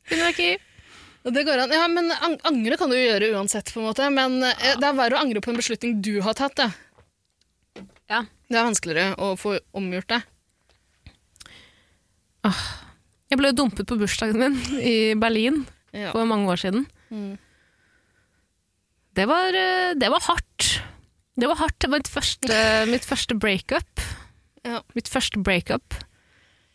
[SPEAKER 2] Finner jeg ikke i.
[SPEAKER 3] Det går an. Ja, men ang- Angre kan du jo gjøre uansett, på en måte. men eh, det er verre å angre på en beslutning du har tatt. Da.
[SPEAKER 2] Ja.
[SPEAKER 3] Det er vanskeligere å få omgjort det.
[SPEAKER 2] Jeg ble dumpet på bursdagen min i Berlin
[SPEAKER 3] Ja.
[SPEAKER 2] for mange år siden.
[SPEAKER 3] Mm.
[SPEAKER 2] Det var, eh, det var hardt. Det var hardt. Det var mitt første, eh, mitt første breakup.
[SPEAKER 3] Ja.
[SPEAKER 2] Mitt første breakup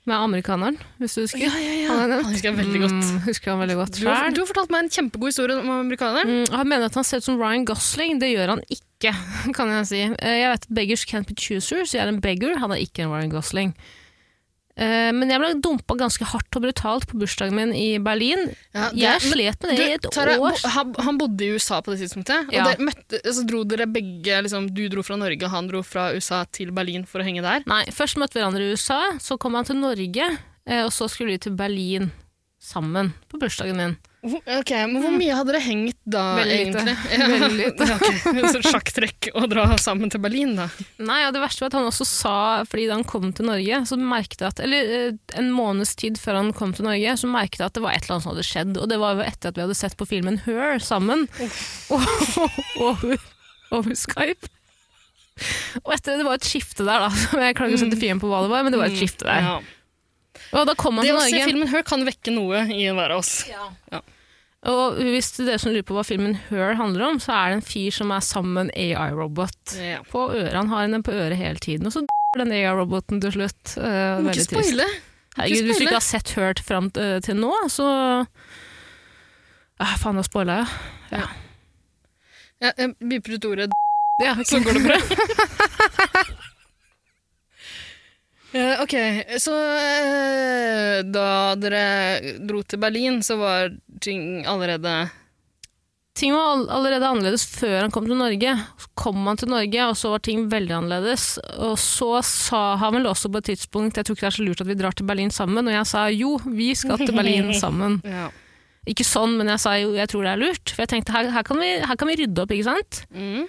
[SPEAKER 2] med amerikaneren, hvis du husker.
[SPEAKER 3] Ja, ja, ja.
[SPEAKER 2] Han er nevnt.
[SPEAKER 3] Han husker jeg veldig godt.
[SPEAKER 2] Mm, husker han veldig godt.
[SPEAKER 3] Du har,
[SPEAKER 2] Fæl.
[SPEAKER 3] du har fortalt meg en kjempegod historie om amerikaneren.
[SPEAKER 2] Mm, han mener at han ser ut som Ryan Gosling. Det gjør han ikke. ikke, [LAUGHS] kan jeg si. Eh, Jeg vet at beggars can't be choosers. Jeg er en beggar, han er ikke en Ryan Gosling. Eh, Men jeg ble dumpa ganske hardt og brutalt på bursdagen min i Berlin.
[SPEAKER 3] Ja, det-
[SPEAKER 2] jeg
[SPEAKER 3] men-
[SPEAKER 2] slet med det i et
[SPEAKER 3] Du, Tara,
[SPEAKER 2] år.
[SPEAKER 3] bo- han, han bodde i USA på det tidspunktet,
[SPEAKER 2] Ja.
[SPEAKER 3] og der møtte, så dro dere begge liksom, Du dro fra Norge, og han dro fra USA til Berlin for å henge der.
[SPEAKER 2] Nei, først møtte vi hverandre i USA, så kom han til Norge, eh, og så skulle vi til Berlin sammen på bursdagen
[SPEAKER 3] [LAUGHS]
[SPEAKER 2] min.
[SPEAKER 3] Hvor, ok, Men hvor mye hadde dere hengt da,
[SPEAKER 2] Mm. Veldig lite. [LAUGHS]
[SPEAKER 3] egentlig?
[SPEAKER 2] Veldig lite.
[SPEAKER 3] [LAUGHS] ok, Så sånn sjakktrekk å dra sammen til Berlin, da.
[SPEAKER 2] Nei, og det verste var at han også sa, fordi da han kom til Norge, så merket jeg at, eller eh, en måneds tid før han kom til Norge, så merket jeg at det var et eller annet som hadde skjedd, og det var jo etter at vi hadde sett på filmen Her sammen, og, over, over Skype. Og etter det var et skifte der da, [LAUGHS] som jeg klarer ikke å sette fingeren på hva det var, men det var et skifte der.
[SPEAKER 3] Mm. Ja.
[SPEAKER 2] Og da kom han
[SPEAKER 3] Det
[SPEAKER 2] til
[SPEAKER 3] å se
[SPEAKER 2] Norge.
[SPEAKER 3] filmen Her kan vekke noe i enhver av oss.
[SPEAKER 2] Og hvis det er dere som lurer på hva filmen Her handler om, så er det en fyr som er sammen med en AI-robot.
[SPEAKER 3] Ja.
[SPEAKER 2] På øret, Han har henne på øret hele tiden, og så d***er den AI-roboten til slutt. Eh,
[SPEAKER 3] Må
[SPEAKER 2] veldig
[SPEAKER 3] ikke
[SPEAKER 2] trist.
[SPEAKER 3] spoile.
[SPEAKER 2] Herregud, hvis du
[SPEAKER 3] spoile.
[SPEAKER 2] ikke har sett Hurt fram t- eh, til nå, så ah, Faen, da spoila jeg.
[SPEAKER 3] Ja, jeg biper ut ordet
[SPEAKER 2] [LAUGHS] Ja,
[SPEAKER 3] så går det bra. Eh, ok, så eh, da dere dro til Berlin, så var ting allerede
[SPEAKER 2] Ting var all allerede annerledes før han kom til Norge. Så kom han til Norge, og så var ting veldig annerledes. Og så sa han vel også på et tidspunkt Jeg tror ikke det er så lurt at vi drar til Berlin sammen. Og jeg sa jo, vi skal til
[SPEAKER 3] [LAUGHS]
[SPEAKER 2] Berlin sammen.
[SPEAKER 3] Ja.
[SPEAKER 2] Ikke sånn, men jeg sa jo, jeg tror det er lurt. For jeg tenkte her, her, kan, vi, her kan vi rydde opp, ikke sant?
[SPEAKER 3] Mm.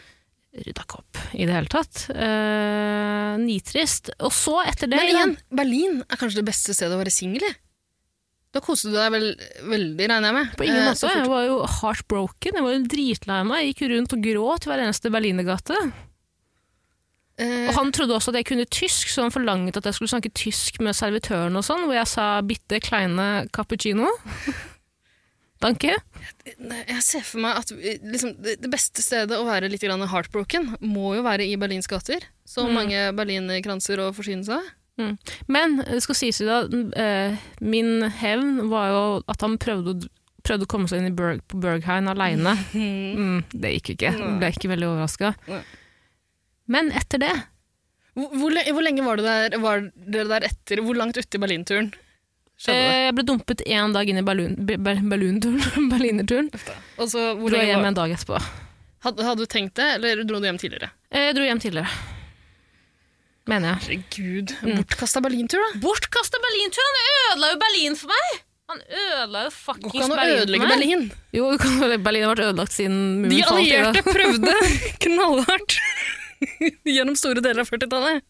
[SPEAKER 2] Rydda ikke opp i det hele tatt. Eh, nitrist. Og så, etter det
[SPEAKER 3] Men
[SPEAKER 2] igjen
[SPEAKER 3] igjen, Berlin er kanskje det beste stedet å være singel i. Da koste du deg vel veldig, regner jeg med.
[SPEAKER 2] På ingen
[SPEAKER 3] Eh,
[SPEAKER 2] måte.
[SPEAKER 3] så fort-
[SPEAKER 2] Jeg var jo heartbroken. Jeg var jo dritlei meg. Jeg gikk jo rundt og gråt i hver eneste berlinergate.
[SPEAKER 3] Eh,
[SPEAKER 2] Og han trodde også at jeg kunne tysk, så han forlanget at jeg skulle snakke tysk med servitøren og sånn, hvor jeg sa 'bitte kleine
[SPEAKER 3] [LAUGHS]
[SPEAKER 2] cappuccino'. Danke.
[SPEAKER 3] nei, jeg ser for meg at eh, liksom, det det beste stedet å være litt grann heartbroken, må jo være i Berlins gater. Så mange berlinerkranser å forsyne seg av.
[SPEAKER 2] Men det skal sies jo da, eh, min hevn var jo at han prøvde å, prøvde å komme seg inn i Berg, på Berghain [LAUGHS] aleine. Mm, det gikk jo ikke.
[SPEAKER 3] Nei.
[SPEAKER 2] Ble ikke veldig overraska.
[SPEAKER 3] Nei.
[SPEAKER 2] Men etter det
[SPEAKER 3] Hvor, hvor, le- hvor lenge var, det der, var dere der etter? Hvor langt ute i Berlinturen? Skjønner du?
[SPEAKER 2] eh, Jeg ble dumpet én dag inn i ballun- be- be- ballunturen- [LAUGHS] berlinerturen.
[SPEAKER 3] Og så, Altså, hvor
[SPEAKER 2] Dro
[SPEAKER 3] lenge
[SPEAKER 2] hjem
[SPEAKER 3] var,
[SPEAKER 2] en dag etterpå.
[SPEAKER 3] hadde, hadde du tenkt det, eller dro du hjem tidligere?
[SPEAKER 2] Jeg dro hjem tidligere. Mener jeg.
[SPEAKER 3] Herregud, bortkasta Berlintur, da.
[SPEAKER 2] Bortkasta Berlintur! Han ødela jo Berlin for meg! Han ødela jo
[SPEAKER 3] Går
[SPEAKER 2] fuckings
[SPEAKER 3] ikke an å
[SPEAKER 2] Berlin for
[SPEAKER 3] ødelegge
[SPEAKER 2] meg.
[SPEAKER 3] Berlin.
[SPEAKER 2] Jo, [LAUGHS] du kan- Berlin har vært ødelagt siden muren
[SPEAKER 3] De
[SPEAKER 2] falt. ja.
[SPEAKER 3] allierte [LAUGHS] prøvde knallhardt [LAUGHS] gjennom store deler av 40-tallet.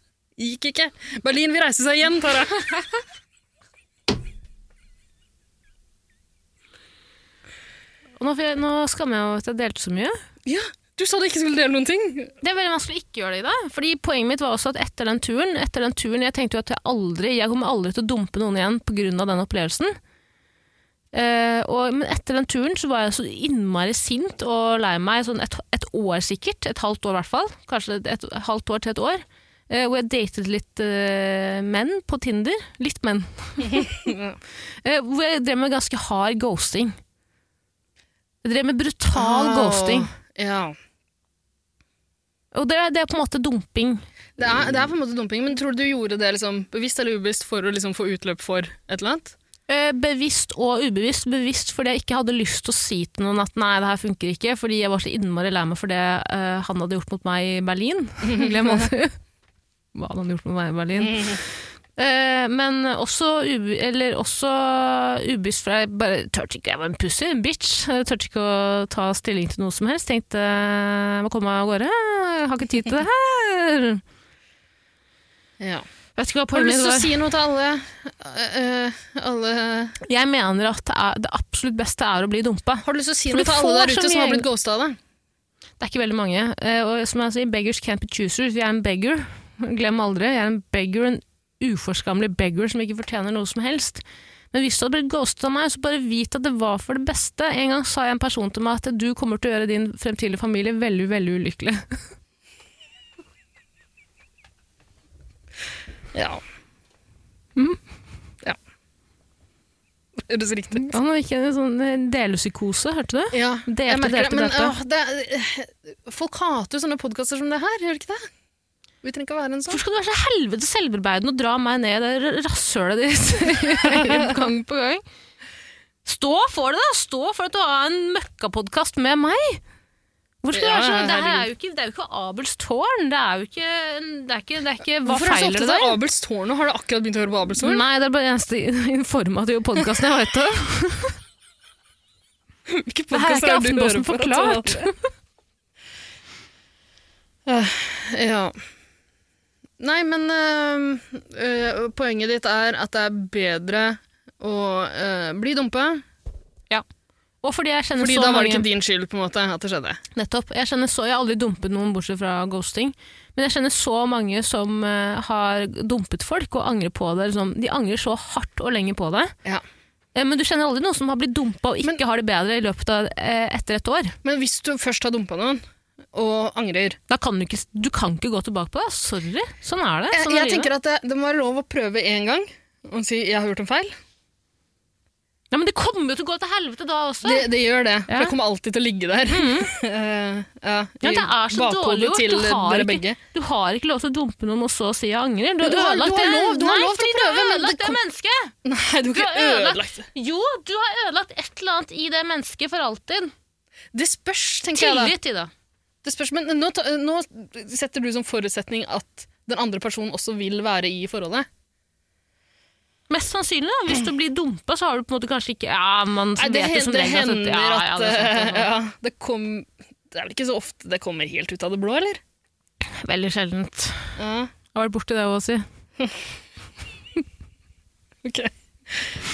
[SPEAKER 3] Gikk ikke. Berlin vil reise seg igjen, Tara.
[SPEAKER 2] Og Nå, får jeg- nå skammer jeg meg over at jeg delte så mye.
[SPEAKER 3] Ja, du sa du ikke skulle dele noen ting.
[SPEAKER 2] Det er veldig vanskelig å ikke gjøre det i dag. Fordi Poenget mitt var også at etter den turen etter den turen, Jeg tenkte jo at jeg aldri Jeg kommer aldri til å dumpe noen igjen pga. den opplevelsen. Eh, og, men etter den turen så var jeg så innmari sint og lei meg sånn et, et år sikkert. Et halvt år i hvert fall. Kanskje et, et halvt år til et år. eh, hvor jeg datet litt eh, menn på Tinder. Litt menn. Eh, hvor jeg drev med ganske hard ghosting. Jeg drev med brutal ghosting.
[SPEAKER 3] Ah. Ja.
[SPEAKER 2] Og det, det er på en måte dumping.
[SPEAKER 3] Det er, det er på en måte dumping, men tror du du gjorde det liksom, bevisst eller ubevisst for å liksom få utløp for et eller annet?
[SPEAKER 2] Eh, Bevisst og ubevisst. Bevisst fordi jeg ikke hadde lyst til å si til noen at nei, det her funker ikke, fordi jeg var så innmari lei meg for det eh, han hadde gjort mot meg i
[SPEAKER 3] [LAUGHS]
[SPEAKER 2] Berlin. Glem aldri hva han hadde gjort mot meg i Berlin. Eh, men også, ube, eller også ubevisst, for jeg bare turte ikke, jeg var en pussy, en bitch. Jeg turte ikke å ta stilling til noe som helst. Tenkte jeg må komme meg av gårde, jeg har ikke tid til det her.
[SPEAKER 3] Ja.
[SPEAKER 2] Vet ikke hva
[SPEAKER 3] Har du
[SPEAKER 2] poenget
[SPEAKER 3] lyst
[SPEAKER 2] mitt
[SPEAKER 3] til å
[SPEAKER 2] var.
[SPEAKER 3] si noe til alle, eh, eh, alle
[SPEAKER 2] Jeg mener at det, er, det absolutt beste er å bli dumpa.
[SPEAKER 3] Har du lyst til å si
[SPEAKER 2] For
[SPEAKER 3] noe
[SPEAKER 2] du
[SPEAKER 3] til alle
[SPEAKER 2] får
[SPEAKER 3] der
[SPEAKER 2] så
[SPEAKER 3] ute som
[SPEAKER 2] mye-
[SPEAKER 3] har blitt ghosta av deg?
[SPEAKER 2] Det er ikke veldig mange. Eh, Og som jeg sier, beggars can't be choosers. Jeg er en beggar. Glem aldri. Jeg er en beggar, en uforskammelig beggar som ikke fortjener noe som helst. Men hvis du hadde blitt ghostet av meg, så bare vit at det var for det beste. En gang sa jeg en person til meg at du kommer til å gjøre din fremtidige familie veldig, veldig ulykkelig.
[SPEAKER 3] Ja. Ja. Mm. høres riktig ut.
[SPEAKER 2] Han gikk inn i sånn eh, delepsykose, hørte du?
[SPEAKER 3] Ja,
[SPEAKER 2] Delte,
[SPEAKER 3] jeg
[SPEAKER 2] delte,
[SPEAKER 3] merker det. Men
[SPEAKER 2] delte.
[SPEAKER 3] åh, det, er- folk hater jo sånne podkaster som det her, gjør de ikke det? Vi trenger ikke å være en sånn.
[SPEAKER 2] Hvorfor skal du være så helvete selvbearbeidende og dra meg ned i det rasshølet ditt [LAUGHS] gang på gang? Stå for det, da! Stå for at du har en møkkapodkast med meg! Hvor skal du
[SPEAKER 3] Ja,
[SPEAKER 2] være sånn? Det her er
[SPEAKER 3] herregud.
[SPEAKER 2] jo ikke, det er jo ikke Abels tårn. Det er jo ikke, det er ikke, det er ikke Hva
[SPEAKER 3] Hvorfor er du så
[SPEAKER 2] feiler det
[SPEAKER 3] opptatt av
[SPEAKER 2] der?
[SPEAKER 3] Abels tårn nå? Har du akkurat begynt å høre på Abels tårn?
[SPEAKER 2] Nei, det er bare den eneste [LAUGHS] informative podkasten jeg vet om.
[SPEAKER 3] Hvilke
[SPEAKER 2] Det her er ikke
[SPEAKER 3] podcaster det du hører
[SPEAKER 2] Aftenposten
[SPEAKER 3] på, Rattala?
[SPEAKER 2] forklart.
[SPEAKER 3] [LAUGHS] Ja. Nei, men øh, øh, poenget ditt er at det er bedre å øh, bli dumpe.
[SPEAKER 2] Og fordi jeg kjenner
[SPEAKER 3] Fordi
[SPEAKER 2] Mm, så
[SPEAKER 3] da var det
[SPEAKER 2] mange
[SPEAKER 3] ikke din skyld på en måte at det skjedde.
[SPEAKER 2] Nettopp. Jeg, kjenner så, jeg har aldri dumpet noen bortsett fra ghosting. Men jeg kjenner så mange som eh, har dumpet folk og angrer på det. Liksom. De angrer så hardt og lenge på det.
[SPEAKER 3] Ja.
[SPEAKER 2] Eh, men du kjenner aldri noen som har blitt dumpa og ikke
[SPEAKER 3] Men-
[SPEAKER 2] har det bedre i løpet av eh, etter et år.
[SPEAKER 3] Men hvis du først har dumpa noen og angrer
[SPEAKER 2] Da kan du ikke, du kan ikke gå tilbake på det. Sorry. Sånn er det.
[SPEAKER 3] Jeg,
[SPEAKER 2] Sånn
[SPEAKER 3] jeg
[SPEAKER 2] er livet.
[SPEAKER 3] tenker at det, det må være lov å prøve én gang og si 'jeg har gjort en feil'.
[SPEAKER 2] Ja, men det kommer jo til å gå til helvete da også.
[SPEAKER 3] Det, det gjør det,
[SPEAKER 2] Ja. Mm.
[SPEAKER 3] for det kommer alltid til å ligge der. [LAUGHS] Eh, ja,
[SPEAKER 2] ja,
[SPEAKER 3] i
[SPEAKER 2] det er så
[SPEAKER 3] bakhodet
[SPEAKER 2] dårlig gjort.
[SPEAKER 3] til
[SPEAKER 2] Du har,
[SPEAKER 3] dere
[SPEAKER 2] ikke,
[SPEAKER 3] begge.
[SPEAKER 2] du har ikke lov til å dumpe noen og så si jeg angrer. Du,
[SPEAKER 3] Men du har-
[SPEAKER 2] ødelagt
[SPEAKER 3] du har
[SPEAKER 2] det-
[SPEAKER 3] lov- du har
[SPEAKER 2] Nei,
[SPEAKER 3] lov til å
[SPEAKER 2] fordi du har
[SPEAKER 3] prøve, men det
[SPEAKER 2] ødelagt det
[SPEAKER 3] kom-
[SPEAKER 2] mennesket!
[SPEAKER 3] Nei, du har
[SPEAKER 2] Du
[SPEAKER 3] ikke
[SPEAKER 2] har ødelagt-
[SPEAKER 3] ødelagt det.
[SPEAKER 2] Jo, du har ødelagt et eller annet i det mennesket for alltid.
[SPEAKER 3] Det spørs, tenker jeg da.
[SPEAKER 2] Tillit i det.
[SPEAKER 3] Det spørs, men nå, ta- nå setter du som forutsetning at den andre personen også vil være i forholdet.
[SPEAKER 2] Mest sannsynlig, da. Hvis du blir dumpa, så har du på en måte kanskje ikke Ja, man
[SPEAKER 3] Nei, Altså, det,
[SPEAKER 2] vet jo
[SPEAKER 3] hen-
[SPEAKER 2] som
[SPEAKER 3] det
[SPEAKER 2] regel
[SPEAKER 3] hender
[SPEAKER 2] ja, ja,
[SPEAKER 3] at
[SPEAKER 2] det er sant, det
[SPEAKER 3] eh,
[SPEAKER 2] er sant.
[SPEAKER 3] [LAUGHS] ja, det kom Det er vel ikke så ofte det kommer helt ut av det blå, eller?
[SPEAKER 2] Veldig sjeldent. Jeg
[SPEAKER 3] Ja,
[SPEAKER 2] har vært borti det òg, si.
[SPEAKER 3] ok. [LAUGHS]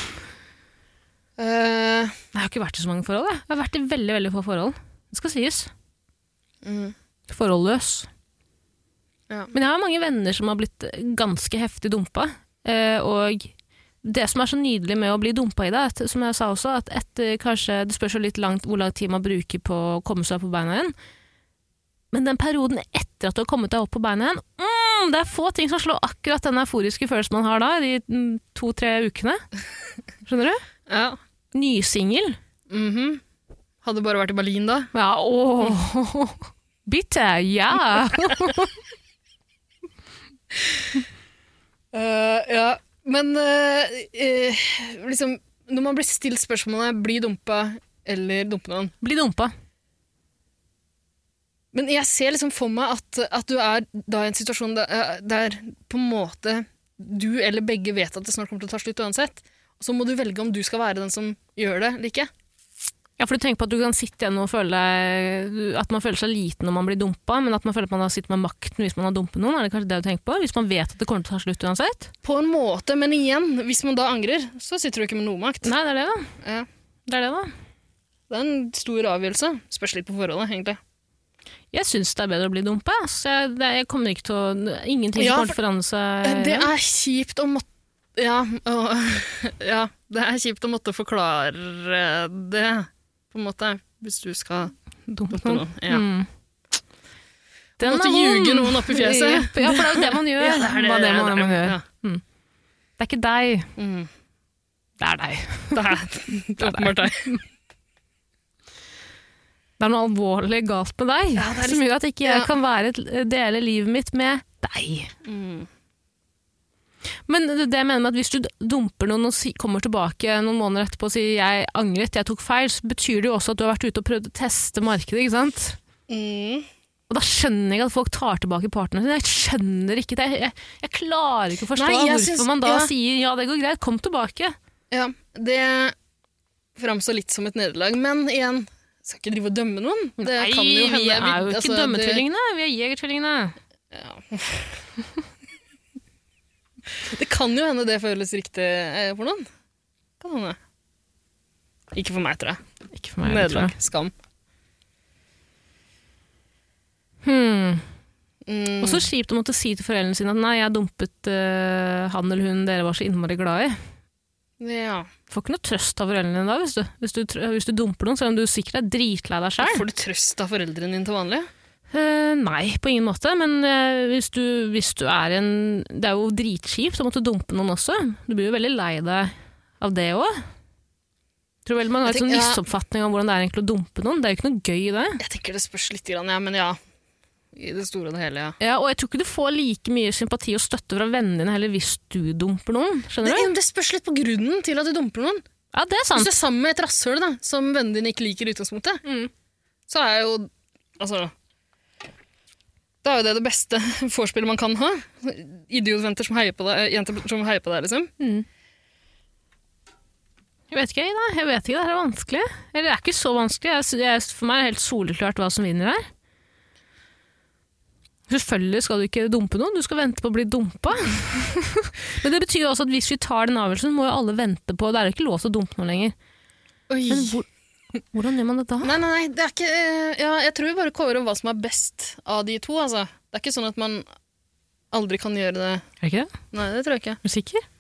[SPEAKER 3] Eh,
[SPEAKER 2] Jeg har ikke vært i så mange forhold. Jeg, jeg har vært i veldig veldig få forhold. Det skal sies.
[SPEAKER 3] Mm.
[SPEAKER 2] Forholdløs.
[SPEAKER 3] Ja.
[SPEAKER 2] Men jeg har mange venner som har blitt ganske heftig dumpa. eh, Og det som er så nydelig med å bli dumpa i det, er at, som jeg sa også, at etter kanskje Det spørs jo litt langt hvor lang tid man bruker på å komme seg på beina igjen. Men den perioden etter at du har kommet deg opp på beina igjen mm, Det er få ting som slår akkurat den euforiske følelsen man har da, de mm, to-tre ukene. Skjønner du?
[SPEAKER 3] ja.
[SPEAKER 2] Nysingel.
[SPEAKER 3] mhm. Hadde bare vært i Berlin da.
[SPEAKER 2] Ja, åh. Bitte, ja.
[SPEAKER 3] Eh, ja, men eh, eh, liksom Når man blir stilt spørsmålet blir dumpa eller dumpe noen
[SPEAKER 2] Bli dumpa.
[SPEAKER 3] Men jeg ser liksom for meg at, at du er da i en situasjon der, eh, der på en måte du eller begge vet at det snart kommer til å ta slutt uansett. Og så må du velge om du skal være den som gjør det eller ikke.
[SPEAKER 2] Ja, for du tenker på at du kan sitte igjen og føle deg At man føler seg liten når man blir dumpa, men at man føler at man har sittet med makten hvis man har dumpet noen. Er det kanskje det du tenker på? Hvis man vet at det kommer til å ta slutt uansett?
[SPEAKER 3] På en måte, men igjen, hvis man da angrer, så sitter du ikke med noe makt.
[SPEAKER 2] Nei, det er det, da.
[SPEAKER 3] Ja.
[SPEAKER 2] Det er det, da.
[SPEAKER 3] Det er en stor avgjørelse. Spørs litt på forholdet, egentlig.
[SPEAKER 2] Jeg syns det er bedre å bli dumpa. ja. Så jeg, det, jeg kommer ikke til å Ingenting
[SPEAKER 3] Ja, Eh,
[SPEAKER 2] kommer til å forandre seg.
[SPEAKER 3] Det er kjipt å måtte ja, å- [LAUGHS] ja, det er kjipt å måtte forklare det, på en måte, hvis du skal
[SPEAKER 2] Dumpe
[SPEAKER 3] dumpe noen. Ja.
[SPEAKER 2] Mm. Den
[SPEAKER 3] Måtte
[SPEAKER 2] er vond.
[SPEAKER 3] ljuge noen opp i fjeset.
[SPEAKER 2] Jepp. [LAUGHS] Ja, for det er jo det man gjør.
[SPEAKER 3] Ja, det er det,
[SPEAKER 2] det, man,
[SPEAKER 3] det er det.
[SPEAKER 2] man gjør.
[SPEAKER 3] Ja.
[SPEAKER 2] det er ikke deg.
[SPEAKER 3] [LAUGHS] Mm.
[SPEAKER 2] Det er deg.
[SPEAKER 3] Det er det er åpenbart deg.
[SPEAKER 2] Det er noe alvorlig galt med deg,
[SPEAKER 3] Ja, det er litt-
[SPEAKER 2] som gjør at ikke jeg
[SPEAKER 3] Ja.
[SPEAKER 2] kan være, et- dele livet mitt med deg. Men det det jeg mener med at hvis du dumper noen og si, kommer tilbake noen måneder etterpå og sier jeg angret, jeg tok feil, så betyr det jo også at du har vært ute og prøvd å teste markedet, ikke sant?
[SPEAKER 3] Mm.
[SPEAKER 2] Og da skjønner jeg ikke at folk tar tilbake partneren sin. Jeg skjønner ikke det. Jeg, jeg klarer ikke å forstå
[SPEAKER 3] Nei, jeg
[SPEAKER 2] hvorfor
[SPEAKER 3] syns-
[SPEAKER 2] man da
[SPEAKER 3] ja.
[SPEAKER 2] sier ja, det går greit, kom tilbake.
[SPEAKER 3] Ja, det framstår litt som et nederlag, men igjen, skal ikke drive og dømme noen. Det
[SPEAKER 2] Nei,
[SPEAKER 3] kan jo hende
[SPEAKER 2] vi er jo ikke
[SPEAKER 3] altså, det-
[SPEAKER 2] dømmetvillingene, vi er jegertvillingene.
[SPEAKER 3] Ja. [LAUGHS] det kan jo hende det føles riktig eh, for noen. Kan hende. Ikke for meg, tror jeg.
[SPEAKER 2] Ikke for meg, jeg tror
[SPEAKER 3] Nederlag.
[SPEAKER 2] jeg.
[SPEAKER 3] Skam.
[SPEAKER 2] Hmm.
[SPEAKER 3] Mm.
[SPEAKER 2] Og så kjipt å måtte si til foreldrene sine at nei, jeg dumpet eh, han eller hun dere var så innmari glad i.
[SPEAKER 3] ja.
[SPEAKER 2] Får ikke noe trøst av foreldrene dine da, hvis du, hvis, du, tr- hvis du dumper noen, selv om du sikkert er dritlei deg sjøl.
[SPEAKER 3] Får du trøst av foreldrene dine til vanlig?
[SPEAKER 2] Eh, nei, på ingen måte, men eh, hvis, du, hvis du er en Det er jo dritkjipt å måtte dumpe noen også. Du blir jo veldig lei deg av det òg. Tror vel man har
[SPEAKER 3] Jeg
[SPEAKER 2] en sånn
[SPEAKER 3] tenker- ja.
[SPEAKER 2] misoppfatning om hvordan det er egentlig å dumpe noen. Det er jo ikke noe gøy i det.
[SPEAKER 3] Jeg tenker det spørs litt, grann, ja, men ja. I det store og det hele, ja.
[SPEAKER 2] Ja, og jeg tror ikke du får like mye sympati og støtte fra vennene dine heller hvis du dumper noen.
[SPEAKER 3] Det,
[SPEAKER 2] Skjønner du?
[SPEAKER 3] det spørs litt på grunnen til at du dumper noen.
[SPEAKER 2] Ja, det er
[SPEAKER 3] Hvis
[SPEAKER 2] sant.
[SPEAKER 3] du er sammen med et rasshøl da, som vennene dine ikke liker i utgangspunktet,
[SPEAKER 2] Mm.
[SPEAKER 3] så er jo Altså Da er jo det det beste [LAUGHS] vorspielet man kan ha. Idiotventer som heier på deg, eh, jenter som heier på deg, liksom.
[SPEAKER 2] Jeg vet ikke, Ida. Jeg vet ikke, det her er vanskelig. Eller det er ikke så vanskelig. Jeg, sy- jeg, for meg er det helt soleklart hva som vinner her. Selvfølgelig skal du ikke dumpe noen, du skal vente på å bli [LAUGHS] dumpa. Men det betyr jo også at hvis vi tar den avgjørelsen, må jo alle vente på Det er jo ikke lov til å dumpe noen lenger.
[SPEAKER 3] Oi.
[SPEAKER 2] Men hvor, hvordan gjør man det da?
[SPEAKER 3] Nei, nei, nei, det er ikke eh, Ja, jeg tror vi bare kårer hva som er best av de to, altså. Det er ikke sånn at man aldri kan gjøre det
[SPEAKER 2] Er det ikke det?
[SPEAKER 3] Nei, det tror jeg ikke.
[SPEAKER 2] Er du sikker?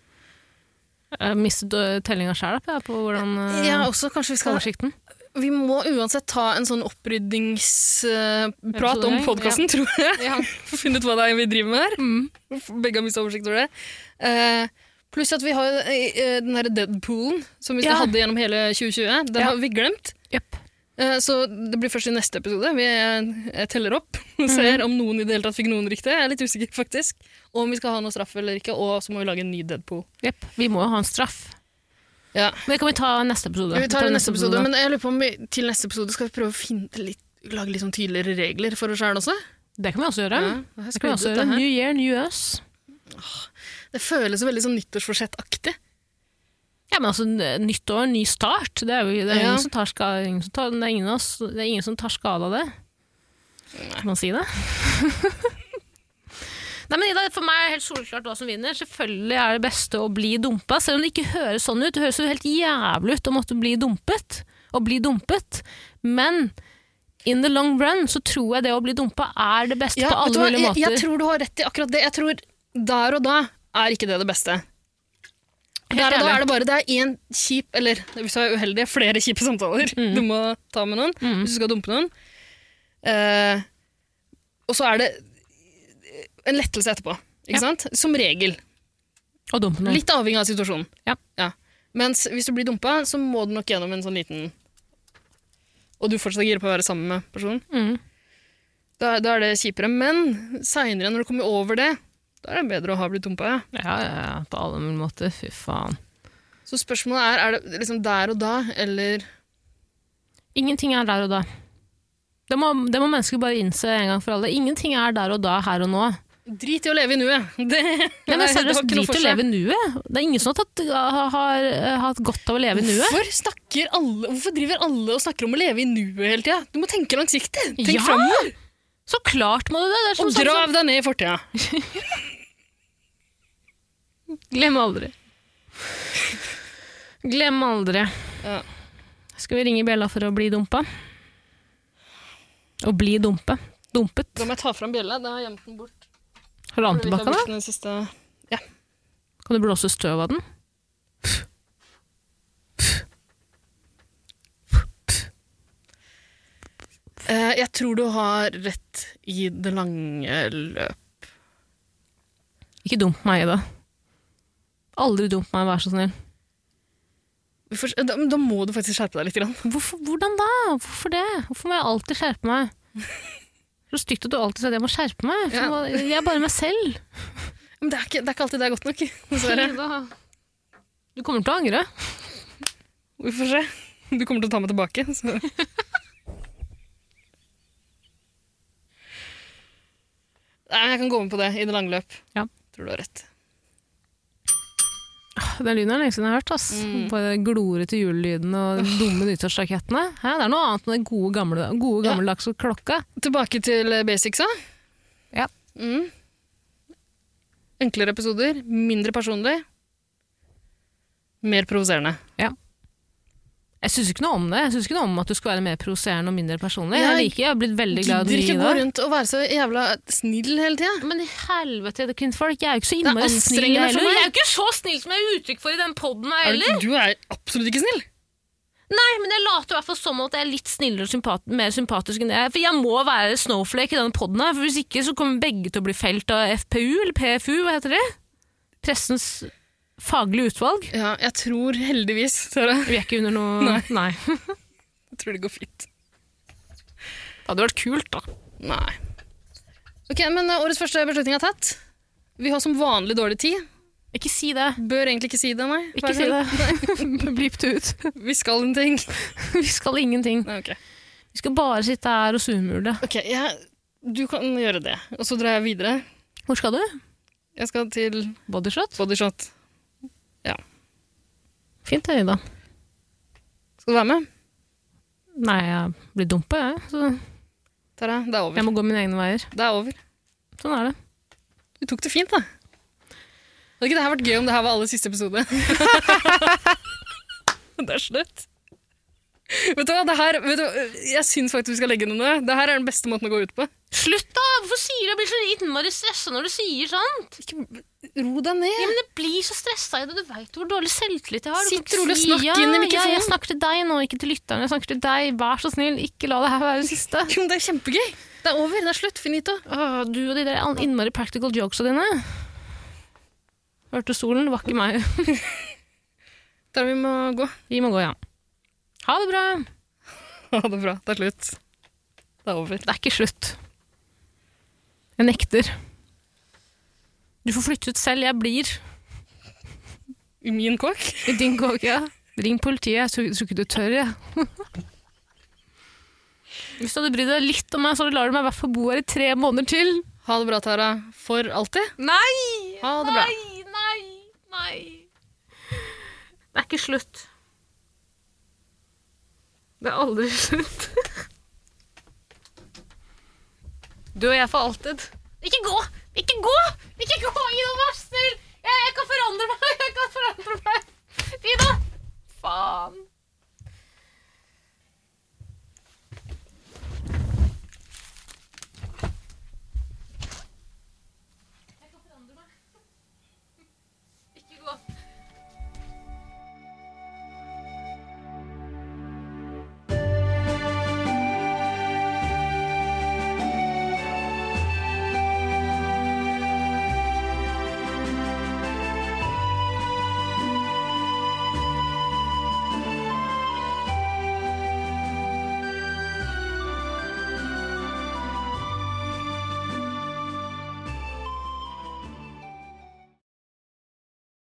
[SPEAKER 2] Jeg har mistet øh, tellinga sjæl på hvordan øh,
[SPEAKER 3] Ja, også kanskje vi skal
[SPEAKER 2] oversikten.
[SPEAKER 3] Vi må uansett ta en sånn opprydningsprat
[SPEAKER 2] Episode,
[SPEAKER 3] om
[SPEAKER 2] ja.
[SPEAKER 3] podkasten, tror jeg. [LAUGHS]
[SPEAKER 2] Ja.
[SPEAKER 3] For å finne ut hva det er vi driver med her.
[SPEAKER 2] Mm.
[SPEAKER 3] Begge har mista oversikt over det. Eh, pluss at vi har eh, den derre Deadpoolen som vi
[SPEAKER 2] Ja.
[SPEAKER 3] hadde gjennom hele 2020. Den
[SPEAKER 2] Ja.
[SPEAKER 3] har vi glemt.
[SPEAKER 2] Jepp.
[SPEAKER 3] Eh, så det blir først i neste episode. Vi eh, jeg teller opp [LAUGHS] og
[SPEAKER 2] Mhm.
[SPEAKER 3] ser om noen i det hele tatt fikk noen riktig. Jeg er litt usikker, faktisk. Og om vi skal ha noe straff eller ikke. Og så må vi lage en ny Deadpool.
[SPEAKER 2] Jepp. Vi må jo ha en straff.
[SPEAKER 3] Ja.
[SPEAKER 2] Men det kan vi ta i neste episode.
[SPEAKER 3] Vi tar det i neste episode,
[SPEAKER 2] da.
[SPEAKER 3] men jeg lurer på om vi til neste episode skal vi prøve å finne litt, lage litt sånn tydeligere regler for oss sjøl også.
[SPEAKER 2] Det kan vi også gjøre.
[SPEAKER 3] det,
[SPEAKER 2] Det kan vi også gjøre. New year, new us.
[SPEAKER 3] det føles jo veldig sånn nyttårsforsett-aktig.
[SPEAKER 2] Ja, men altså, n- nytt år, ny start. Det er jo det er
[SPEAKER 3] Ja.
[SPEAKER 2] ingen, som tar ska, ingen, som tar, det er ingen, av oss, det er ingen som tar skade av det. Kan man si det? [LAUGHS] Nei, men Ida, For meg er det helt soleklart hva som vinner. Selvfølgelig er det beste å bli dumpa, selv om det ikke høres sånn ut. Det høres jo helt jævlig ut å måtte bli dumpet. Å bli dumpet. Men in the long run så tror jeg det å bli dumpa er det beste på alle mulige
[SPEAKER 3] jeg,
[SPEAKER 2] måter.
[SPEAKER 3] jeg tror du har rett i akkurat det. Jeg tror der og da er ikke det det beste. Der og da
[SPEAKER 2] ærlig.
[SPEAKER 3] er det bare det er én kjip, eller hvis du er uheldig, flere kjipe samtaler [LAUGHS] du må ta med noen
[SPEAKER 2] Mm.
[SPEAKER 3] hvis du skal dumpe noen. Eh, og så er det en lettelse etterpå, ikke
[SPEAKER 2] Ja.
[SPEAKER 3] sant? Som regel.
[SPEAKER 2] Å dumpe noen.
[SPEAKER 3] Litt avhengig av situasjonen.
[SPEAKER 2] Ja.
[SPEAKER 3] Mens hvis du blir dumpa, så må du nok gjennom en sånn liten Og du fortsatt er gira på å være sammen med personen.
[SPEAKER 2] Mm.
[SPEAKER 3] Da, da er det kjipere. Men seinere, når du kommer over det, da er det bedre å ha blitt dumpa. Ja.
[SPEAKER 2] Ja, ja, ja, på alle mulige måter. Fy faen.
[SPEAKER 3] Så spørsmålet er er det liksom der og da, eller
[SPEAKER 2] Ingenting er der og da. Det må, det må mennesker bare innse en gang for alle. Ingenting er der og da, her og nå.
[SPEAKER 3] Drit i å leve i nuet. [LAUGHS] Det,
[SPEAKER 2] Nei, men seriøst,
[SPEAKER 3] ikke
[SPEAKER 2] drit i
[SPEAKER 3] noe
[SPEAKER 2] å
[SPEAKER 3] for seg.
[SPEAKER 2] leve i nuet. Det er ingen som har, tatt, har, har, eh, hatt godt av å leve i nuet.
[SPEAKER 3] Hvorfor, snakker alle, hvorfor driver alle og snakker om å leve i nuet hele tida? Du må tenke langsiktig. Tenk
[SPEAKER 2] Ja,
[SPEAKER 3] framover.
[SPEAKER 2] Så klart må du det! det er som
[SPEAKER 3] Og
[SPEAKER 2] sagt- sånn.
[SPEAKER 3] grav deg ned i fortida.
[SPEAKER 2] Glem aldri. Glem aldri.
[SPEAKER 3] Ja.
[SPEAKER 2] Skal vi ringe Bjella for å bli dumpa? Å bli dumpe. Dumpet.
[SPEAKER 3] Da må jeg ta fram bjella. Da har jeg gjemt den bort.
[SPEAKER 2] Har du
[SPEAKER 3] Fordi
[SPEAKER 2] annet
[SPEAKER 3] vi ikke har
[SPEAKER 2] tilbake, da?
[SPEAKER 3] brukt den i det siste...
[SPEAKER 2] Kan du blåse støv av den?
[SPEAKER 3] Eh, jeg tror du har rett i det lange løp.
[SPEAKER 2] Ikke dump meg, Ida. Aldri dump meg, vær så snill.
[SPEAKER 3] Vi får- Da, da må du faktisk skjerpe deg litt. Grann.
[SPEAKER 2] Hvorfor, hvordan da? Hvorfor det? Hvorfor må jeg alltid skjerpe meg? Så stygt at du alltid sier at jeg må skjerpe meg. For
[SPEAKER 3] Ja.
[SPEAKER 2] hva- Jeg er bare meg selv.
[SPEAKER 3] Men det er, ikke, det er ikke alltid det er godt nok, [LAUGHS] dessverre.
[SPEAKER 2] Ida, Du kommer til å angre.
[SPEAKER 3] Vi får se. Du kommer til å ta meg tilbake. [LAUGHS] Så. Nei, men Jeg kan gå med på det i det lange løp.
[SPEAKER 2] Ja.
[SPEAKER 3] Tror du har rett.
[SPEAKER 2] Den lyden er lenge siden jeg har hørt. ass.
[SPEAKER 3] Mm.
[SPEAKER 2] Bare glorete julelyden og de dumme nyttårsrakettene. Hæ, det er noe annet enn den gode, gamle, gode
[SPEAKER 3] Ja.
[SPEAKER 2] gammeldagse klokka.
[SPEAKER 3] Tilbake til eh, basicsa.
[SPEAKER 2] Ja.
[SPEAKER 3] Mm. Enklere episoder, mindre personlig, mer provoserende.
[SPEAKER 2] Jeg syns ikke noe om det. Jeg synes ikke noe om at du skal være mer provoserende og mindre personlig. Jeg,
[SPEAKER 3] Jeg
[SPEAKER 2] liker, jeg har blitt veldig glad i
[SPEAKER 3] Gidder ikke
[SPEAKER 2] den
[SPEAKER 3] gå
[SPEAKER 2] nye.
[SPEAKER 3] rundt og være så jævla snill hele tida.
[SPEAKER 2] Men i helvete, det kvinnfolk, jeg er jo ikke så innmari
[SPEAKER 3] Det er
[SPEAKER 2] snill
[SPEAKER 3] anstrengende for
[SPEAKER 2] heller. sånn,
[SPEAKER 3] meg.
[SPEAKER 2] Jeg er jo ikke så snill som jeg er uttrykk for i den poden her heller.
[SPEAKER 3] Du er absolutt ikke snill.
[SPEAKER 2] Nei, men jeg later i hvert fall som at jeg er litt snillere og sympat mer sympatisk enn det jeg er. For jeg må være snowflake i denne poden her, for hvis ikke så kommer begge til å bli felt av FPU, eller PFU, hva heter det? Pressens faglig utvalg.
[SPEAKER 3] Ja, jeg tror heldigvis, Sara.
[SPEAKER 2] Vi er ikke under noe
[SPEAKER 3] Nei.
[SPEAKER 2] Nei.
[SPEAKER 3] Jeg tror det går fint.
[SPEAKER 2] Det hadde vært kult, da.
[SPEAKER 3] Nei. Ok, men eh, årets første beslutning er tatt. Vi har som vanlig dårlig tid.
[SPEAKER 2] Ikke si det.
[SPEAKER 3] Bør egentlig ikke si det, nei. Hver
[SPEAKER 2] Ikke si
[SPEAKER 3] gang.
[SPEAKER 2] det. [LAUGHS] Blip det ut.
[SPEAKER 3] Vi skal en ting.
[SPEAKER 2] Vi skal ingenting.
[SPEAKER 3] Nei, ok.
[SPEAKER 2] Vi skal bare sitte her og surmule.
[SPEAKER 3] Ok, jeg, du kan gjøre det. Og så drar jeg videre.
[SPEAKER 2] Hvor skal du?
[SPEAKER 3] Jeg skal til
[SPEAKER 2] Bodyshot?
[SPEAKER 3] bodyshot.
[SPEAKER 2] Fint det, Ida.
[SPEAKER 3] Skal du være med?
[SPEAKER 2] Nei, jeg blir dumpa, jeg. Så
[SPEAKER 3] Tara, det er over.
[SPEAKER 2] jeg må gå mine egne veier.
[SPEAKER 3] Det er over.
[SPEAKER 2] Sånn er det.
[SPEAKER 3] Du tok det fint, da. Hadde ikke det her vært gøy om det her var aller siste episode? [LAUGHS] det er slutt. Vet du hva, det her, vet du, hva, jeg syns faktisk vi skal legge ned det. Det her er den beste måten å gå ut på.
[SPEAKER 2] Slutt, da! Hvorfor sier du jeg blir så innmari stressa når du sier sånt?
[SPEAKER 3] Ro deg ned.
[SPEAKER 2] Ja, men jeg blir så stressa i det. Du veit hvor dårlig selvtillit jeg har. Du
[SPEAKER 3] Sitt
[SPEAKER 2] kan ikke
[SPEAKER 3] rolig og
[SPEAKER 2] si
[SPEAKER 3] snakk
[SPEAKER 2] ja.
[SPEAKER 3] inn i
[SPEAKER 2] Ja, jeg
[SPEAKER 3] mikrofonen.
[SPEAKER 2] snakker til deg nå, ikke til lytteren. Jeg snakker til deg. Vær så snill, ikke la det her være det siste.
[SPEAKER 3] Jo, men det er kjempegøy. Det er over. Det er slutt. Finito.
[SPEAKER 2] Åh, du og de der innmari practical jokesa dine. Hørte solen, det var ikke meg.
[SPEAKER 3] Der vi må gå. [LAUGHS]
[SPEAKER 2] Vi må gå, ja. Ha det bra.
[SPEAKER 3] Ha det bra. Det er slutt. Det er over.
[SPEAKER 2] Det er ikke slutt. Jeg nekter. Du får flytte ut selv, jeg blir.
[SPEAKER 3] I min kåk.
[SPEAKER 2] I din kåke. ja. Ring politiet, jeg tror- tror ikke du tør, jeg. [LAUGHS] Hvis du hadde brydd deg litt om meg, så hadde du lar du meg i hvert fall bo her i tre måneder til.
[SPEAKER 3] Ha det bra, Tara. For alltid.
[SPEAKER 2] Nei!
[SPEAKER 3] Ha det bra.
[SPEAKER 2] Nei, nei, nei. Det er ikke slutt. Det er aldri slutt. Du og jeg for alltid. Ikke gå! Ikke gå! Ikke gå! Ida, vær snill! Jeg, jeg kan forandre meg! [LAUGHS] Jeg kan forandre meg!